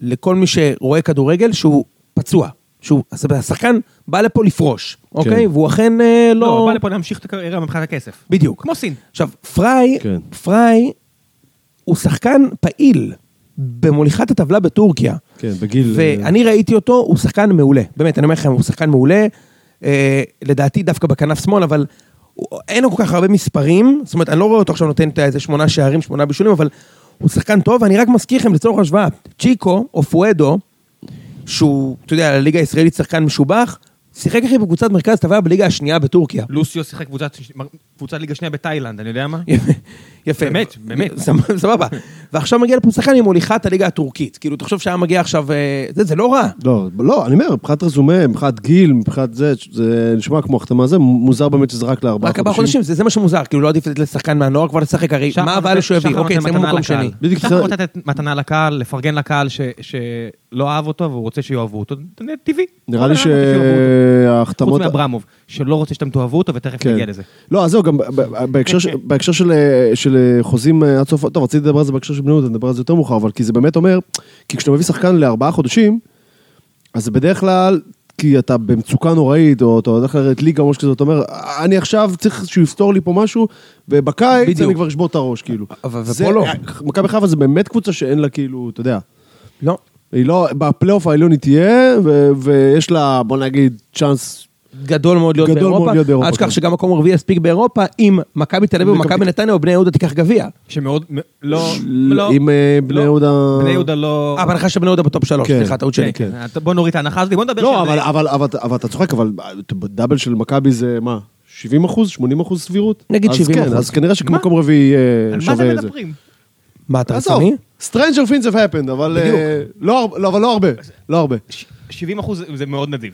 לכל מי שרואה כדורגל שהוא פצוע. שהוא, אז השחקן בא לפה לפרוש, אוקיי? והוא אכן אה, לא...
כן. לא, בא לפה להמשיך את הקריירה מבחינת הכסף.
בדיוק.
כמו סין.
עכשיו, פריי,
כן.
פריי הוא שחקן פעיל במוליכת הטבלה בטורקיה.
כן, בגיל... אה,
ואני ראיתי אותו, הוא שחקן מעולה. באמת, אני אומר לכם, הוא שחקן מעולה. אה, לדעתי דווקא בכנף שמאל, אבל הוא- אין לו כל כך הרבה מספרים. זאת אומרת, אני לא רואה אותו עכשיו נותן את איזה שמונה שערים, שמונה בישולים, אבל הוא שחקן טוב, ואני רק מזכיר לכם לצורך השוואה. צ'יקו, או פואדו, שהוא, אתה יודע, לליגה הישראלית שחקן משובח, שיחק אחי בקבוצת מרכז טבלה בליגה השנייה בטורקיה.
לוסיו שיחק קבוצת קבוצת ליגה שנייה בתאילנד, אני יודע מה?
יפה. יפה.
באמת, באמת.
סבבה, סבבה. ועכשיו מגיע לפה שחקן עם מוליכת הליגה הטורקית. כאילו, תחשוב שהיה מגיע עכשיו... אה, זה, זה לא רע.
לא, לא, אני אומר, מבחינת רזומה, מבחינת גיל, מבחינת זה, זה נשמע כמו החתמה זה, מוזר באמת שזה רק לארבעה
רק ארבעה חודשים, זה, זה מה שמוזר, כאילו לא עדיף לתת לשחקן מהנוער כבר לשחק, הרי
שחר
מה
נותן-
הבעיה שהוא יביא?
שחר
אוקיי,
נותן
זה
מתנה
מקום
לקהל.
שני.
בדיוק,
שחר
זה-
רוצה לתת מתנה לקהל, לפרגן לקהל ש- שלא אהב אותו והוא רוצה שיאהבו אותו, זה טבעי.
נראה לי
כל אחד רוצה שיאהבו אותו.
שההחתמות...
חוץ מאברמוב, שלא רוצה שאתם תאהבו אותו ותכף
כן.
נגיע לזה.
לא, אז זהו, גם ב- ב- בהקשר של- בהקשר של אה, של, אה, חוזים אה, עד סוף... טוב, רציתי לדבר על זה בהקשר של בני יהודה, נדבר על זה יותר מאוחר, אבל כי זה באמת אומר, כי כשאתה מביא שחקן לארבעה חודשים, אז זה בדרך כלל, כי אתה במצוקה נוראית, או אתה הולך לרדת ליגה או משהו כזה, אתה אומר, אני עכשיו צריך שהוא יפתור לי פה משהו, ובקיץ
בדיוק.
אני כבר אשבור את הראש, כאילו.
אבל-
זה-
ופה לא.
מכבי חיפה זה באמת קבוצה שאין לה, כאילו, אתה יודע.
לא.
היא לא, בפלייאוף העליון היא תהיה, ו- ויש לה, בוא נגיד, צ'אנס
גדול מאוד להיות
גדול מאוד
באירופה.
להיות באירופה,
אל תשכח
כן.
שגם מקום רביעי יספיק באירופה, אם מכבי תל אביב ומכבי נתניה או בני יהודה תיקח גביע.
שמאוד, מ- לא,
של-
לא.
עם, אה, בני
לא.
יהודה-
בני יהודה לא... אה,
אה, בהנחה שבני יהודה בטופ שלוש,
כן,
סליחה, טעות שלי.
כן.
אתה- בוא נוריד את ההנחה הזאת, בוא נדבר אה,
לא,
של-
אבל, אבל, אבל, אבל אתה צוחק, אבל דאבל של מכבי זה מה? 70 אחוז? 80 אחוז סבירות?
נגיד
אז
70%.
כן, אז כנראה שכמקום
מה?
רביעי אה,
על מה
שווה
אתם
את זה.
מדברים?
מה, אתה
עזוב,
רציני?
Stranger things have happened, אבל אה, לא הר- לא, אבל לא הרבה, לא הרבה.
70 אחוז זה מאוד נדיב.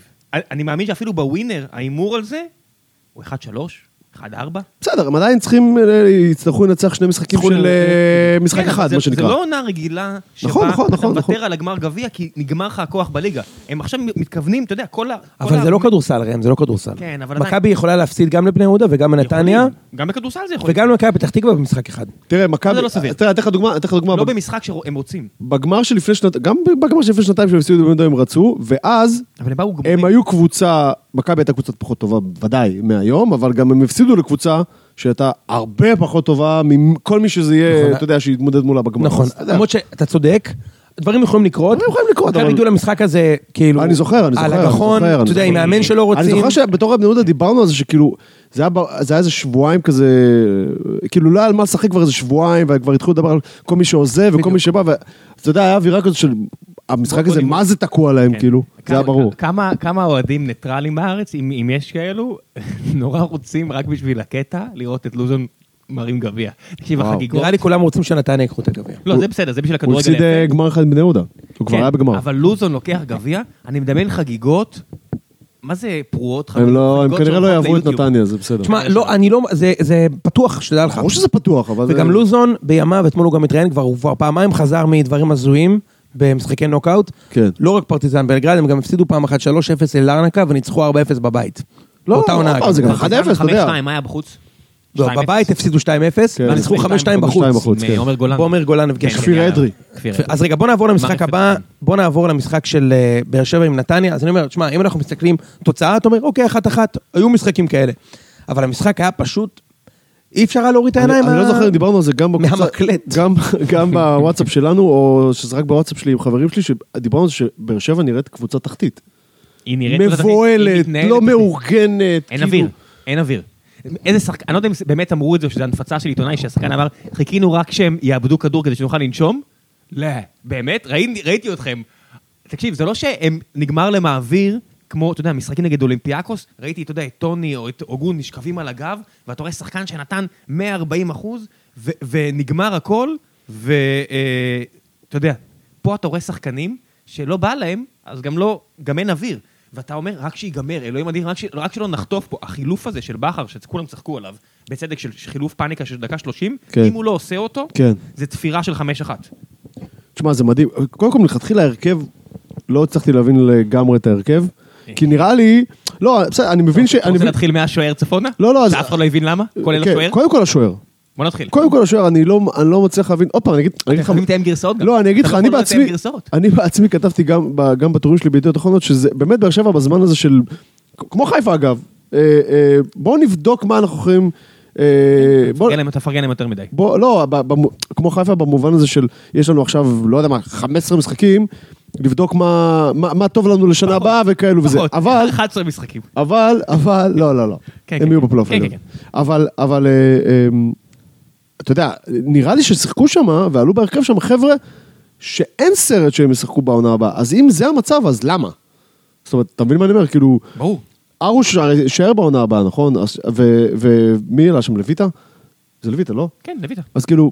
אני מאמין שאפילו בווינר, ההימור על זה הוא 1-3, אחד ארבע?
בסדר, הם עדיין צריכים, אה, יצטרכו לנצח שני משחקים
צריכו
של
לנצח.
אה, משחק
כן,
אחד,
זה-
מה
זה
שנקרא.
לא עונה רגילה,
נכון,
שבה
נכון,
אתה
נכון, נכון.
מוותר על הגמר גביע, כי נגמר לך הכוח בליגה. הם עכשיו מתכוונים, אתה יודע, כל ה... כל
אבל
ה-
זה לא כדורסל, ראם, זה לא כדורסל.
כן, אבל עדיין-
מכבי יכולה להפסיד גם לבני יהודה וגם לנתניה,
יכולים. גם בכדורסל זה יכול.
וגם למכבי פתח תקווה במשחק אחד.
תראה, מכבי...
זה לא סביר.
תראה, אני אתן לך דוגמה, אני אתן לך דוגמה.
לא
בג-
במשחק שהם רוצים.
בגמר שלפני שנתיים, גם בגמר שלפני שנתיים שהם הפסידו בבני יהודה הם רצו, ואז
אבל הם באו גמורים.
הם היו קבוצה, מכבי הייתה קבוצה פחות טובה בוודאי מהיום, אבל גם הם הפסידו לקבוצה שהייתה הרבה פחות טובה מכל מי שזה
נכון.
יהיה, אתה יודע, שיתמודד מולה בגמר.
נכון,
אז אתה יודע,
למרות שאתה צודק, דברים יכולים לקרות.
דברים יכולים לקרות,
מכבי
אבל-
ידעו למשחק הזה, כאילו...
אני זוכר, אני זוכר,
על
אני
הגחון,
זוכר, אני
אתה יודע, עם
זוכר.
מאמן שלא רוצים.
אני זוכר שבתור בני יהודה דיברנו על זה שכאילו, זה היה, ב- זה היה איזה שבועיים כזה, כאילו לא היה על מה לשחק כבר איזה שבועיים, וכבר התחילו לדבר על כל מי שעוזב וכל מי שבא, ואתה יודע, היה אווירה כזאת של, המשחק
נכון,
בוא
הזה,
נגמר.
מה זה תקוע להם,
כן.
כאילו, זה
כמה-
היה ברור.
כמה כמה אוהדים ניטרלים בארץ, אם אם יש כאלו, נורא רוצים רק בשביל הקטע לראות את לוזון מרים גביע. תקשיב,
וואו.
החגיגות...
נראה לי כולם רוצים שנתניה ייקחו את הגביע.
לא, זה בסדר, זה בשביל
הוא
הכדורגל
הפסיד
היפה.
אה, גמר אחד מבני יהודה, הוא כבר
כן,
היה בגמר.
אבל לוזון לוקח גביע, אני מדמיין חגיגות, מה זה פרועות?
הם לא, הם
חגיגות
כנראה לא
שהולכות
יעברו את
ליוטיוב.
נתניה, זה בסדר.
תשמע, לא, אני לא... זה- זה פתוח, שתדע לך.
ברור שזה פתוח, אבל...
וגם לוזון בימיו, אתמול הוא גם התראיין כבר, הוא כבר פעמיים חזר מדברים הזויים במשחקי נוקאוט.
כן.
לא רק פרטיזן בלגרד, הם גם הפסידו פעם אחת 3-0 ללרנקה וניצחו 4-0 בבית.
לא,
באותה עונה,
עוד פעם,
אגב.
זה גם 1-0, אתה יודע.
5-2, מה היה בחוץ?
לא,
2-0.
בבית הפסידו 2-0,
כן.
וניצחו 5-2 בחוץ.
5-2 בחוץ,
עם,
כן.
עומר גולן.
עומר גולן
כן,
הפגיש.
כפיר
כן,
אדרי.
כפיר אדרי.
אז רגע, בוא נעבור למשחק
מערכת
הבא, בוא נעבור למשחק של אה, באר שבע עם נתניה. אז אני אומר, תשמע, אם אנחנו מסתכלים תוצאה, אתה אומר, אוקיי, אחת-אחת, היו משחקים כאלה. אבל המשחק היה פשוט, אי אפשר היה להוריד את
אני
העיניים.
אני לא
מה-
זוכר אם דיברנו על זה גם בקבוצה...
מהמקלט.
גם- גם בוואטסאפ שלנו, או שזה רק בוואטסאפ שלי עם חברים שלי, שדיברנו על זה שבאר שבע נראית קבוצה תחתית.
היא נראית לא תחתית, היא
מבוהלת,
מתנהלת
לא
תחתית.
מאורגנת.
אין
כאילו-
אוויר, אין אוויר. איזה שחקן, אני לא יודע אם באמת אמרו את זה, או שזו הנפצה של עיתונאי שהשחקן אמר, חיכינו רק שהם יאבדו כדור כדי שנוכל לנשום? לא. באמת? ראיתי ראיתי אתכם. תקשיב, זה לא שהם נגמר להם האוויר, כמו, אתה יודע, משחקים נגד אולימפיאקוס, ראיתי, אתה יודע, את טוני או את אוגון נשכבים על הגב, ואתה רואה שחקן שנתן 140 אחוז, ו- ונגמר הכל, ואתה יודע, פה אתה רואה שחקנים שלא בא להם, אז גם לא, גם אין אוויר. ואתה אומר, רק שיגמר, אלוהים אדיר, רק, ש... רק שלא נחטוף פה. החילוף הזה של בכר, שכולם צחקו עליו, בצדק של חילוף פאניקה של דקה 30,
כן.
אם הוא לא עושה אותו,
כן.
זה תפירה של 5-1.
תשמע, זה מדהים. קודם כל, מלכתחילה ההרכב, לא הצלחתי להבין לגמרי את ההרכב, כי נראה לי... לא, בסדר, אני מבין ש...
אתה
אני
רוצה
מבין-
להתחיל מהשוער צפונה?
לא, לא, אז-
שאף אחד לא הבין למה? כולל
כן,
השוער?
קודם כל השוער.
בוא נתחיל.
קודם כל השוער, אני לא, אני לא מצליח להבין, עוד פעם, אני אגיד אני אגיד
אתם
לך...
חייבים לתאם גרסאות גם.
לא, אני אגיד
אתה
לך,
לא
אני
יכול לתאם
בעצמי,
גרסאות.
אני בעצמי כתבתי גם, ב- גם בטורים שלי בידיעות אחרונות, שזה באמת באר שבע בזמן הזה של, כמו חיפה אגב, אה, אה, בואו נבדוק מה אנחנו יכולים, אה, בוא,
תפרגן להם- תפרגן להם יותר מדי.
בוא, לא, ב- במו- כמו חיפה במובן הזה של, יש לנו עכשיו, לא יודע מה, 15 משחקים, לבדוק מה, מה, מה טוב לנו לשנה הבאה וכאלו וזה,
פחות.
אבל
11 נכון, משחקים.
אבל, אבל, לא, לא, לא.
כן,
הם
כן,
יהיו
כן.
בפלייאוף
כן,
העליון.
כן,
אבל, אבל, אה, אה, אתה יודע, נראה לי ששיחקו שם, ועלו בהרכב שם חבר'ה, שאין סרט שהם ישחקו בעונה הבאה. אז אם זה המצב, אז למה? זאת אומרת, אתה מבין מה אני אומר? כאילו,
ברור.
ארוש הרי יישאר בעונה הבאה, נכון? אז- ו- ומי העלה שם? לויטה? זה לויטה, לא?
כן, לויטה.
אז כאילו...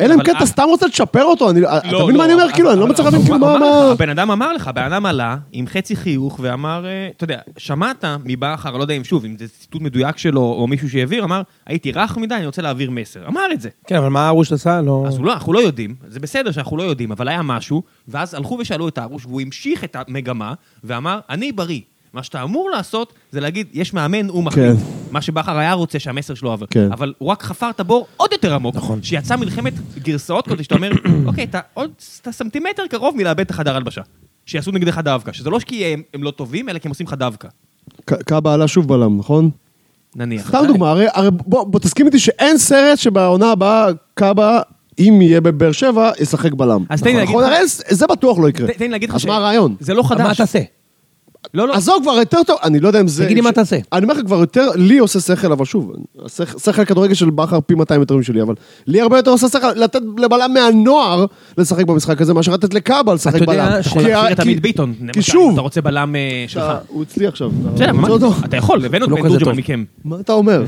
אלא אם
אבל
כן אתה
אז-
סתם רוצה לצ'פר אותו, אני- אתה מבין מה אני אומר?
אבל-
כאילו, אני לא
אבל-
מצליח להבין
אבל-
כאילו
הוא
מה...
אמר
מה-
לך, הבן אדם אמר לך, הבן אדם עלה עם חצי חיוך ואמר, אה, אתה יודע, שמעת מבכר, לא יודע אם שוב, אם זה ציטוט מדויק שלו או מישהו שהעביר, אמר, הייתי רך מדי, אני רוצה להעביר מסר. אמר את זה.
כן, אבל מה ארוש עשה? לא...
אז הוא לא, אנחנו לא יודעים, זה בסדר שאנחנו לא יודעים, אבל היה משהו, ואז הלכו ושאלו את הארוש, והוא המשיך את המגמה, ואמר, אני בריא. מה שאתה אמור לעשות, זה להגיד, יש מאמן, הוא מחליט.
כן.
מה שבכר היה רוצה שהמסר שלו עבר.
כן.
אבל הוא רק חפר את הבור עוד יותר עמוק.
נכון.
שיצא מלחמת גרסאות כזאת, שאתה אומר, אוקיי, אתה עוד ס- אתה סנטימטר קרוב מלאבד את החדר הלבשה. שיעשו נגדך דווקא. שזה לא כי הם, הם לא טובים, אלא כי הם עושים לך דווקא.
ק- קאבה עלה שוב בלם, נכון?
נניח.
סתם דוגמה, הרי, הרי בוא, בוא תסכים איתי שאין סרט שבעונה הבאה קאבה, אם יהיה בבאר שבע, ישחק בלם.
אז תן לי
נכון,
להגיד
נכון?
לך-
הרי זה- זה בטוח לא יקרה.
ת- תן לי להגיד לך
אז מה הרעיון?
זה לא
מה
חדש.
תעשה?
לא, לא.
אז זו כבר יותר טוב, אני לא יודע אם זה...
תגיד לי מה
ש-
תעשה.
אני אומר לך כבר יותר, לי עושה שכל, אבל שוב, השכ- שכל כדורגל של בכר פי 200 יותר משלי, אבל לי הרבה יותר עושה שכל לתת לבלם מהנוער לשחק במשחק הזה, מאשר לתת לקאבה לשחק
אתה
בלם.
יודע ש-
אתה יכול
כי ה-
להחזיר את
כי-
עמית ביטון.
כי
למשל,
שוב,
אתה רוצה בלם אה, שלך.
אתה- הוא אצלי עכשיו. אתה
בסדר,
רוצה
ממש,
אותו?
אתה יכול, הבאנו את
לא
בן
כזה
תורג'מן
טוב.
מכם.
מה אתה אומר?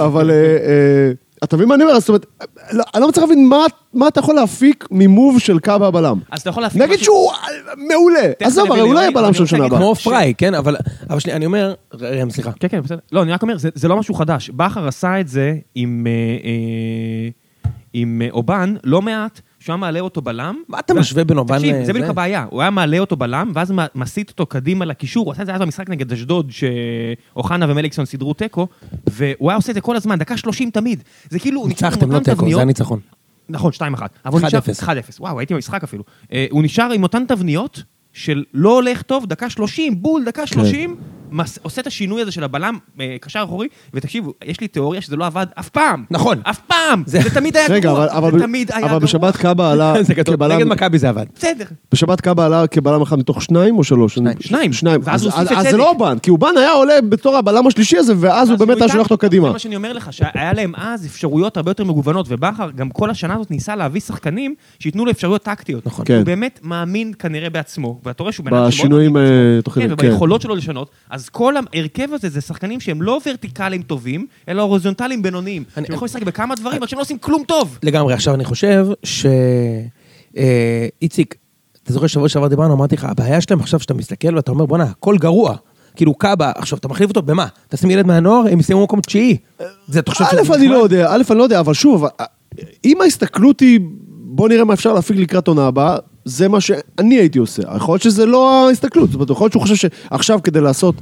אבל אה, אה, אתה מבין מה אני אומר? זאת אומרת, לא- אני לא מצליח להבין מה- מה אתה יכול להפיק ממוב של קאבה הבלם.
אז אתה יכול להפיק
נגיד
משהו-
שהוא אה, מעולה.
תכף
עזוב,
אני
הרי הוא
בינוני,
לא יהיה
אבל אני
בלם של
רוצה
שנה
להגיד
הבאה.
כמו פריי, כן? אבל, אבל שנייה, אני אומר, ראם, סליחה.
כן, כן, בסדר. לא, אני רק אומר, זה, זה לא משהו חדש. בכר עשה את זה עם, אה, אה, עם אה, אובן לא מעט, שהוא היה מעלה אותו בלם.
מה אתה משווה בין אובן
תקשיב,
לזה?
זה בדיוק הבעיה. הוא היה מעלה אותו בלם, ואז מ- מסיט אותו קדימה לקישור. הוא עשה את זה אז במשחק נגד אשדוד, שאוחנה ומליקסון סידרו תיקו, והוא היה עושה את זה כל הזמן, דקה 30 תמיד. זה כאילו, הוא נשאר עם
ניצחתם, לא
אותן
תיקו, זה
תבניות.
היה ניצחון.
נכון, 2-1. אבל הוא
1-0.
נשאר- 1-0. וואו, הייתי במשחק אפילו. אה, הוא נשאר עם אותן תבניות של לא הולך טוב, דקה 30, בול,
כן.
דקה 30, מס- עושה את השינוי הזה של הבלם, אה, קשר אחורי, ותקשיבו, יש לי תיאוריה שזה לא עבד אף פעם.
נכון.
אף פעם!
זה-
זה תמיד היה
רגע,
גרוע.
אבל- אבל
זה תמיד היה
אבל
גרוע.
בשבת קאבה עלה
זה גדול.
כבלם-
כן, נגד מכבי זה עבד.
בסדר.
בשבת קאבה עלה כבלם אחד מתוך שניים או שלוש? שניים.
שניים.
שניים.
ואז
אז
הוא הוסיף
אז-
את
אז זה
צדק.
לא אובן, כי אובן היה עולה בתור הבלם השלישי הזה, ואז הוא
אז
באמת היה
איתנו.
שולח אותו
זה
קדימה.
מה שאני אומר לך, שהיה להם אז אפשרויות הרבה יותר מגוונות, ובכר גם כל השנה הזאת ניסה להביא שחקנים שייתנו לו אפשרויות טקטיות.
נכון.
הוא
כן.
באמת מאמין כנראה בעצמו, ואתה רואה שהוא בן אדם שמאוד
בשינויים אה, תוך
כן,
כדי, כן.
וביכולות שלו לשנות. אז כל ההרכב הזה זה שחקנים שהם לא ורטיקליים טובים, אלא הורזונטליים בינוניים. הם
אני-
יכולים לשחק בכמה דברים, רק שהם לא עושים כלום טוב.
לגמרי. עכשיו אני חושב ש... אה, איציק, אתה זוכר שבוע שעבר דיברנו, אמרתי לך, הבעיה שלהם עכשיו שאתה מסתכל ואתה אומר, בואנה, הכל גרוע. כאילו קאבה, עכשיו אתה מחליף אותו במה? תשים ילד מהנוער, הם יסיימו במקום תשיעי. זה, אתה חושב
א', אני לא יודע, א', אני לא יודע, אבל שוב, אה, אם ההסתכלות היא, בוא נראה מה אפשר להפיק לקראת עונה הבאה, זה מה שאני הייתי עושה. יכול להיות שזה לא ההסתכלות, זאת אומרת, יכול להיות שהוא חושב שעכשיו כדי לעשות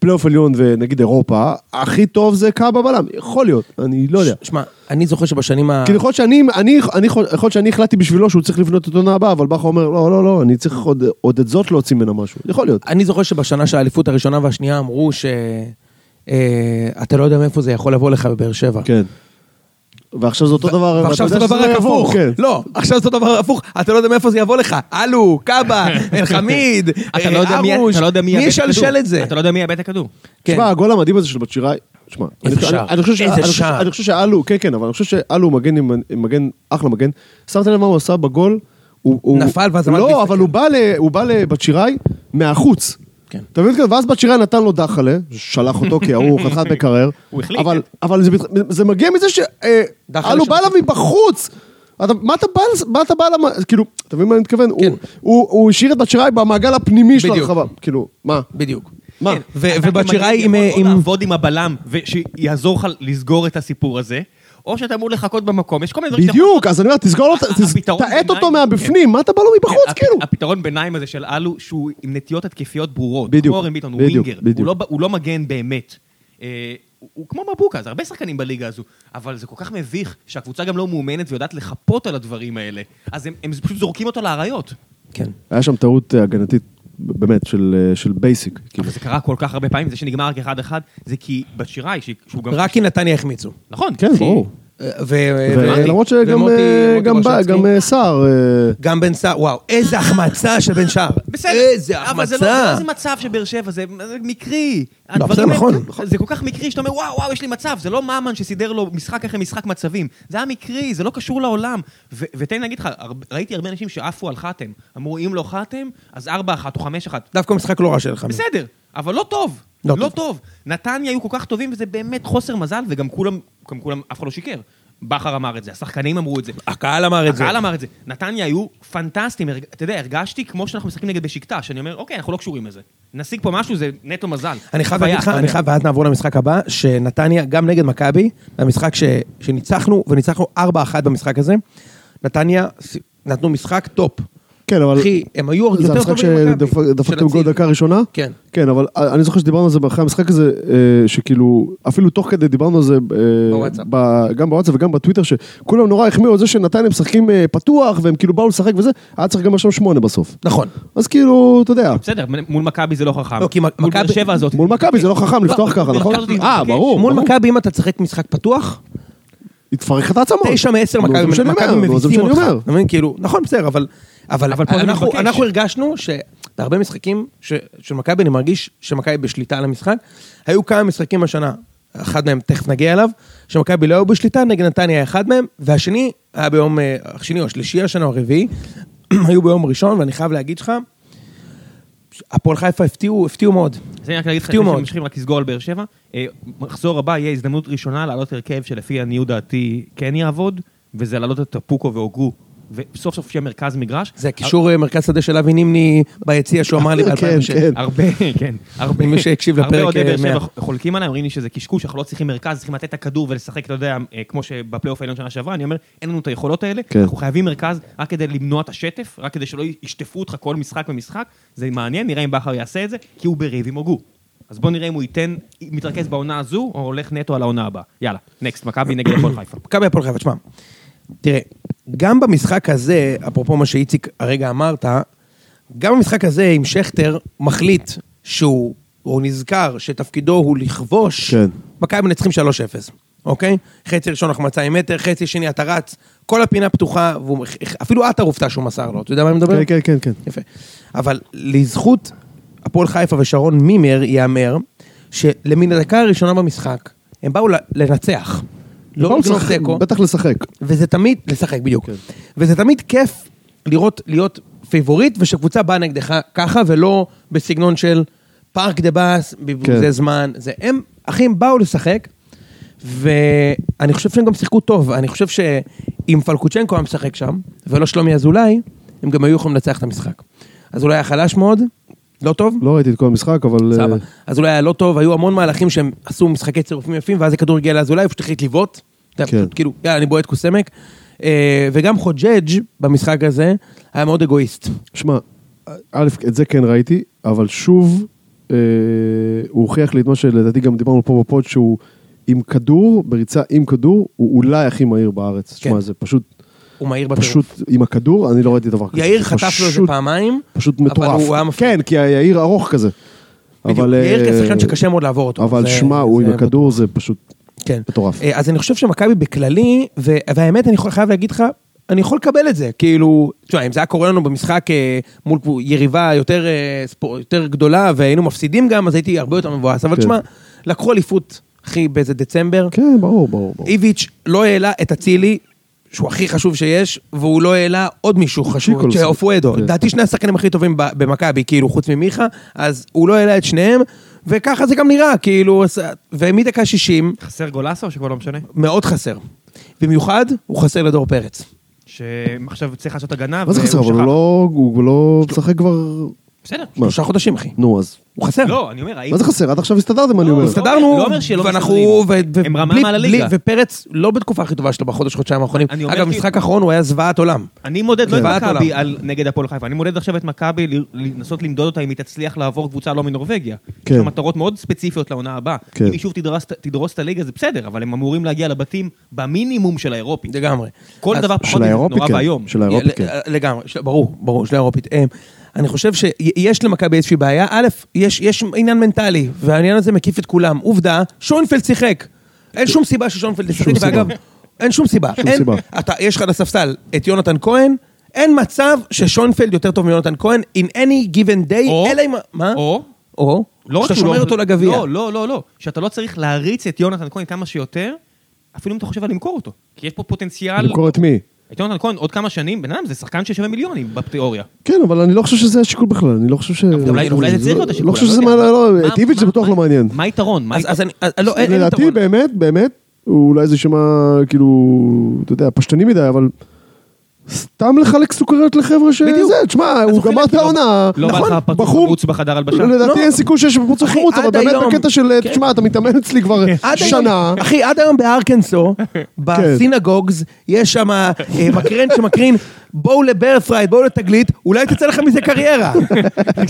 פלייאוף עליון ונגיד אירופה, הכי טוב זה קאבה בלם, יכול להיות, אני לא יודע.
ש- שמע, אני זוכר שבשנים ה...
כאילו יכול להיות שאני, אני, אני, יכול להיות שאני החלטתי בשבילו שהוא צריך לבנות את עונה הבאה, אבל בכר אומר, לא, לא, לא, אני צריך עוד, עוד את זאת להוציא ממנה משהו. יכול להיות.
אני זוכר שבשנה של האליפות הראשונה והשנייה אמרו ש... אה, אתה לא יודע מאיפה זה יכול לבוא לך בבאר שבע.
כן. ועכשיו זה אותו דבר, ואתה
אה. ועכשיו
יודע
זה
שזה
דבר
לא
רק
יעבור,
הפוך.
כן.
לא, עכשיו זה דבר הפוך. אתה לא יודע מאיפה זה יבוא לך. אלו, קאבה, אלחמיד, אה,
אתה לא יודע מי-
ארוש.
אתה לא יודע מי
מי
יאבד את
ישלשל
הכדור.
את זה?
אתה לא יודע מי יאבד את הכדור.
כן.
תשמע, הגול המדהים הזה של בת שיראי, תשמע,
איזה
אני חושב-
שער.
אני- אני חושב ש-
איזה
אני חושב-
שער.
אני חושב שאלו, כן, כן, אבל אני חושב שאלו הוא מגן, עם- עם מגן, אחלה מגן. שמת לב מה הוא עשה בגול? הוא- הוא-
נפל ואז עמד
לא,
להסתכל.
אבל הוא בא ל- הוא בא לבת שיראי מהחוץ.
כן.
אתה מבין? כזה? ואז בת שיראי נתן לו דחלה, שלח אותו כי ההוא חתיכת מקרר.
הוא החליק.
אבל- אבל זה מת- זה מגיע מזה
כן. דחלה
שאלו
של
בא אליו מבחוץ. אתה- מה אתה בא, לס- מה אתה בא, למ- כאילו, אתה מבין מה אני מתכוון?
כן.
הוא- הוא הוא השאיר את בת שיראי במעגל הפנימי של
בדיוק.
הרחבה. כאילו, מה?
לא-
בדיוק.
מה?
ו-
אתה
ובת
כמגן
שיראי עם-
יכול או
עם-
לעבוד עם הבלם, ושיעזור לך לסגור את הסיפור הזה, או שאתה אמור לחכות במקום. יש כל מיני דברים שאתה יכול
בדיוק, אז אני אומר, תסגור לו,
ה-
תס-
הפתרון
תעט
בעיניי-
אותו מהבפנים, מה אתה בא לו
כן,
מבחוץ,
הפ-
כאילו?
הפתרון ביניים הזה של אלו, שהוא עם נטיות התקפיות ברורות.
בדיוק,
כמו אורן ביטון, הוא
בדיוק,
ווינגר.
בדיוק.
הוא לא ב- הוא לא מגן באמת. אה, הוא- הוא כמו מבוקה, זה הרבה שחקנים בליגה הזו. אבל זה כל כך מביך שהקבוצה גם לא מאומנת ויודעת לחפות על הדברים האלה. אז הם הם פשוט זורקים אותו לאריות.
כן.
היה שם טעות אה, הגנתית, באמת, של, אה, של בייסיק. כאילו.
אבל זה קרה כל כך הרבה פעמים, זה שנגמר רק 1-1, זה כי בשיראי, שהיא- שהוא גם...
רק אם נתניה החמיצו.
נכון.
כן,
כי-
ברור.
אה, ו- ו-
ולמרות שגם
ומוטי-
אה,
מוטי
גם בא-
ברשצקי.
גם אה, סער... אה,
גם בן סער, וואו, איזה החמצה של בן שער.
בסדר,
איזה
אבל זה לא זה
החמצה.
לא איזה מצב של באר שבע, זה זה מקרי.
לא,
הדברים
בסדר,
הם-
נכון,
זה כל כך מקרי שאתה אומר, וואו, וואו, יש לי מצב. זה לא ממן שסידר לו משחק אחרי משחק מצבים. זה היה מקרי, זה לא קשור לעולם. ו- ותן לי להגיד לך, הר- ראיתי הרבה אנשים שעפו על חתם. אמרו, אם לא חתם, אז 4-1 או 5-1.
דווקא משחק לא רע שלך.
בסדר, אבל לא טוב.
לא
לא, לא טוב. טוב. נתניה היו כל כך טובים, וזה באמת חוסר מזל, וגם כולם, גם כולם, אף אחד לא שיקר. בכר אמר את זה, השחקנים אמרו את זה.
הקהל אמר את זה.
הקהל אמר את זה. נתניה היו פנטסטיים, הרג- אתה יודע, הרגשתי כמו שאנחנו משחקים נגד בשקטש, אני אומר, אוקיי, אנחנו לא קשורים לזה. נשיג פה משהו, זה נטו מזל.
אני חייב
חוויה,
להגיד לך,
חוויה.
אני חייב, ואז נעבור למשחק הבא, שנתניה, גם נגד מכבי, המשחק ש- שניצחנו, וניצחנו 4-1 במשחק הזה, נתניה ס- נתנו משחק טופ.
כן, אבל...
אחי, הם היו עוד
זה
יותר
המשחק
טובים ממכבי. של
שדפקתם גול
אצילי.
דקה ראשונה?
כן.
כן, אבל אה, אני זוכר שדיברנו על זה אחרי המשחק הזה, אה, שכאילו, אפילו תוך כדי דיברנו על זה, אה,
בוואטסאפ.
ב- גם בוואטסאפ וגם בטוויטר, שכולם נורא החמיאו על זה שנתניה משחקים אה, פתוח, והם כאילו באו לשחק וזה, היה צריך גם עכשיו שמונה בסוף.
נכון.
אז כאילו, אתה יודע,
בסדר, מול מכבי זה לא חכם.
לא, כי מ-
מול באר
מכבי-
שבע הזאת.
מול מכבי זה לא חכם לפתוח ככה,
מול
נכון?
מכבי זה
אה,
מתבקש.
ברור.
כן. מול
ברור.
מכבי, אם אתה תשחק משחק פתוח,
היא תפרק את העצמות.
תשע מעשר
נו,
מכבי
זה מה לא שאני
מכבי
אומר, נו, זה מה
מביסים
שאני
אותך.
אומר.
אתה מבין? כאילו, נכון, בסדר, אבל... אבל,
אבל פה זה
אנחנו,
מתבקש.
אנחנו הרגשנו שבהרבה משחקים ש, של מכבי, אני מרגיש שמכבי בשליטה על המשחק. היו כמה משחקים השנה, אחד מהם, תכף נגיע אליו, שמכבי לא היו בשליטה, נגד נתניה היה אחד מהם, והשני היה ביום, אה, השני או השלישי השנה או הרביעי, היו ביום ראשון, ואני חייב להגיד לך, הפועל חיפה הפתיעו, הפתיעו מאוד.
אז אני רק אגיד לך,
הפתיעו
לפני
מאוד.
שממשיכים רק לסגור על באר שבע, אה, מחזור הבא יהיה הזדמנות ראשונה להעלות הרכב שלפי עניות דעתי כן יעבוד, וזה להעלות את טפוקו והוגו, וסוף סוף שיהיה מרכז מגרש.
זה הקישור אה, מרכז שדה של אבי נימני ביציע שהוא אמר לי
כן,
ב-2006.
כן.
הרבה, כן, הרבה.
מי שהקשיב
הרבה
לפרק,
אוהדי באר
אה,
שבע
מאה.
חולקים עליי, אומרים לי שזה קשקוש, אנחנו לא צריכים מרכז, צריכים לתת את הכדור ולשחק, אתה יודע, אה, כמו שבפלייאוף העליון שנה שעברה, אני אומר, אין לנו את היכולות האלה,
כן.
אנחנו חייבים מרכז רק כדי למנוע את השטף, רק כדי שלא ישטפו אותך כל משחק ומשחק, זה מעניין, נראה אם בכר יעשה את זה, כי הוא בריב עם הוגו. אז בוא נראה אם הוא ייתן, מתרכז בעונה הזו, או הולך נטו על העונה הבאה. יאללה, נקסט, מכבי נגד הפועל חיפה.
מכבי הפועל חיפה, תשמע, תראה, גם במשחק הזה, אפרופו מה שאיציק הרגע אמרת, גם במשחק הזה, אם שכטר מחליט שהוא, הוא נזכר שתפקידו הוא לכבוש,
כן.
מכבי מנצחים 3-0, אוקיי? חצי ראשון החמצה עם מטר, חצי שני אתה רץ, כל הפינה פתוחה, והוא- אפילו עטר הופתע שהוא מסר לו, אתה יודע מה אני מדבר?
כן, כן, כן, כן.
יפה. אבל לזכות הפועל חיפה ושרון מימר ייאמר, שלמן הדקה הראשונה במשחק, הם באו ל- לנצח. לא
באו
לגנוב
לשחק-
תיקו,
בטח לשחק.
וזה תמיד, לשחק בדיוק, וזה תמיד כיף לראות, להיות פייבוריט, ושקבוצה באה נגדך ככה, ולא בסגנון של פארק דה באס,
כן.
זה זמן, זה הם, אחי, הם באו לשחק, ואני חושב שהם גם שיחקו טוב, אני חושב שאם פלקוצ'נקו היה משחק שם, ולא שלומי אזולאי, הם גם היו יכולים לנצח את המשחק. אזולאי היה חלש מאוד, לא טוב,
לא ראיתי את כל המשחק, אבל... אה,
סבבה. אז אולי היה לא טוב, היו המון מהלכים שהם עשו משחקי צירופים יפים, ואז הכדור הגיע לאזולאי, הוא פשוט החליט לבעוט. אתה יודע,
כן.
פשוט כאילו, יאללה, אני בועט קוסמק. אה, וגם חוג'ג' במשחק הזה היה מאוד אגואיסט.
שמע, א', את זה כן ראיתי, אבל שוב, אה, הוא הוכיח לי את מה שלדעתי גם דיברנו פה בפוד, שהוא עם כדור, בריצה עם כדור, הוא אולי הכי מהיר בארץ.
כן.
שמע, זה פשוט,
הוא מהיר בטירוף.
פשוט עם הכדור, אני לא ראיתי דבר כזה.
יאיר
זה
חטף לו איזה
פשוט-
פעמיים.
פשוט
אבל
מטורף.
הוא היה מפחיד.
כן, כי יאיר ארוך כזה.
בדיוק,
אבל,
יאיר
אה,
כשחקן שקשה מאוד לעבור אותו.
אבל
זה-
שמע, הוא
זה-
עם הכדור זה פשוט
כן.
מטורף.
אה, אז אני חושב שמכבי בכללי, ו- והאמת, אני יכול- חייב להגיד לך, אני יכול לקבל את זה. כאילו, תשמע, אם זה היה קורה לנו במשחק אה, מול קבו- יריבה יותר, אה, ספור- יותר גדולה, והיינו מפסידים גם, אז הייתי הרבה יותר מבואס. אבל
כן.
תשמע, לקחו אליפות, אחי, באיזה דצמבר.
כן, ברור, ברור, ברור.
איביץ' לא העלה את אצילי, שהוא הכי חשוב שיש, והוא לא העלה עוד מישהו חשוב,
שיקולסון.
שאופואדו.
כן.
לדעתי שני השחקנים הכי טובים ב- במכבי, כאילו, חוץ ממיכה, אז הוא לא העלה את שניהם, וככה זה גם נראה, כאילו, אז- ומדקה 60,
חסר גולסה או שכבר לא משנה?
מאוד חסר. במיוחד, הוא חסר לדור פרץ.
שעכשיו צריך לעשות הגנה,
מה זה
והוא
חסר? אבל
שכח.
הוא לא- הוא לא משחק כבר...
בסדר.
מה?
שלושה חודשים, אחי.
נו, אז...
הוא חסר.
לא, אני אומר, האם...
מה זה חסר? עד עכשיו הסתדרתם, אני
לא,
אומר.
הסתדר-
הסתדרנו,
לא אומר שלא
ואנחנו,
מסתדרים.
ו- ו-
הם רמה
בלי-
מעל
בלי-
הליגה.
ופרץ לא בתקופה הכי טובה שלו בחודש, חודשיים האחרונים.
אני אומר
אגב,
כי-
משחק האחרון הוא היה זוועת עולם.
אני מודד לא
כן.
את
זוועת
מכבי
עולם.
על- נגד הפועל חיפה, אני מודד עכשיו את מכבי ל- לנסות למדוד אותה אם היא תצליח לעבור קבוצה לא מנורבגיה. יש
כן.
לה מטרות מאוד ספציפיות לעונה הבאה.
כן.
אם היא שוב תדרס- תדרוס את הליגה זה בסדר, אבל הם אמורים להגיע לבתים במינימום של האירופי.
לגמרי.
כל
אז-
דבר
של
פחות מזה זה
האירופי,
נורא ואיום.
כן. של האירופי, כן.
ל- אה, לגמרי, של- ברור, ברור, של האירופית. אה, אני חושב שיש למכבי איזושהי בעיה. א', יש, יש עניין מנטלי, והעניין הזה מקיף את כולם. עובדה, שוינפלד שיחק. אין שום סיבה ששוינפלד ישחק,
שום סיבה.
ואגב, אין שום סיבה.
שום
אין,
סיבה.
אתה, יש לך על הספסל את יונתן כהן, אין מצב ששוינפלד יותר טוב מיונתן כהן, in any given day,
או-
אלא אם... מה?
או-
או?
לא רק
שאתה
שהוא
שומר
לא-
אותו לגביע.
לא, לא, לא, לא. שאתה לא צריך להריץ את יונתן כהן כמה שיותר, אפילו אם אתה חושב על למכור אותו. כי יש פה פוטנציאל...
למכור את מי?
את יונתן כהן עוד כמה שנים, בן אדם זה שחקן ששווה מיליונים בתיאוריה.
כן, אבל אני לא חושב שזה השיקול בכלל, אני לא חושב ש...
אולי אולי זה צריך להיות השיקול.
לא חושב
אני
שזה...
יודע.
מה- לא,
מה-
את איביץ' זה
מה-
בטוח
מה-
לא מעניין.
מה היתרון? מה
אז, אז אני... אז, לא, אין, אין
לדעתי,
יתרון.
באמת, באמת, הוא אולי זה שמע, כאילו, אתה יודע, פשטני מדי, אבל... סתם לחלק סוכריות לחבר'ה שזה,
בדיוק.
תשמע, הוא
הוא
גמר
חלק,
את
לא-
העונה,
לא בא
נכון,
לך פצוע
בחור-
חמוץ בחדר הלבשה?
לדעתי
לא.
אין סיכוי שיש פרוצות
אחי,
חמוץ, אבל
עד
באמת
היום-
בקטע של,
כן.
תשמע, אתה מתאמן אצלי כבר
עד היום-
שנה, כן.
אחי, עד היום בארקנסו, בסינגוגס, יש שם אה, מקרן שמקרין, בואו לברפרייד, בואו לתגלית, אולי תצא לך מזה קריירה.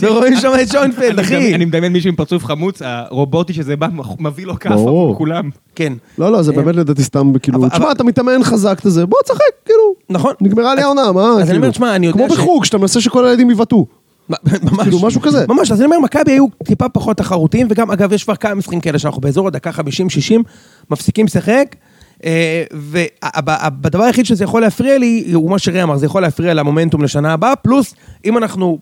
ורואים שם את שוינפלד,
אני מדמיין-
אחי.
אני מדמיין מישהו עם פרצוף חמוץ, הרובוטי שזה בא, מח- מביא לו כאפה
ברור.
מול כולם.
כן.
לא, לא, זה באמת לדעתי סתם, כאילו,
אבל-
תשמע,
אבל-
אתה מתאמן חזק, אתה זה, בוא תשחק, כאילו.
נכון.
נגמרה לי
אז-
העונה, מה?
אז אני
כאילו?
אומר, תשמע, אני יודע
כמו
ש-
בחוג, שאתה מנסה שכל הילדים יבעטו.
ממש.
כאילו, משהו כזה.
ממש, אז אני אומר, מכבי היו טיפה פחות תחרותיים, וגם, אגב, יש כבר כמה משחקים כאלה שאנחנו באזור הדקה 50-60, מפסיקים לשחק, אה, ובדבר היחיד שזה יכול להפריע לי, הוא מה שרי אמר, זה יכול להפריע למומנטום לשנה הבאה, פלוס, אם אנחנו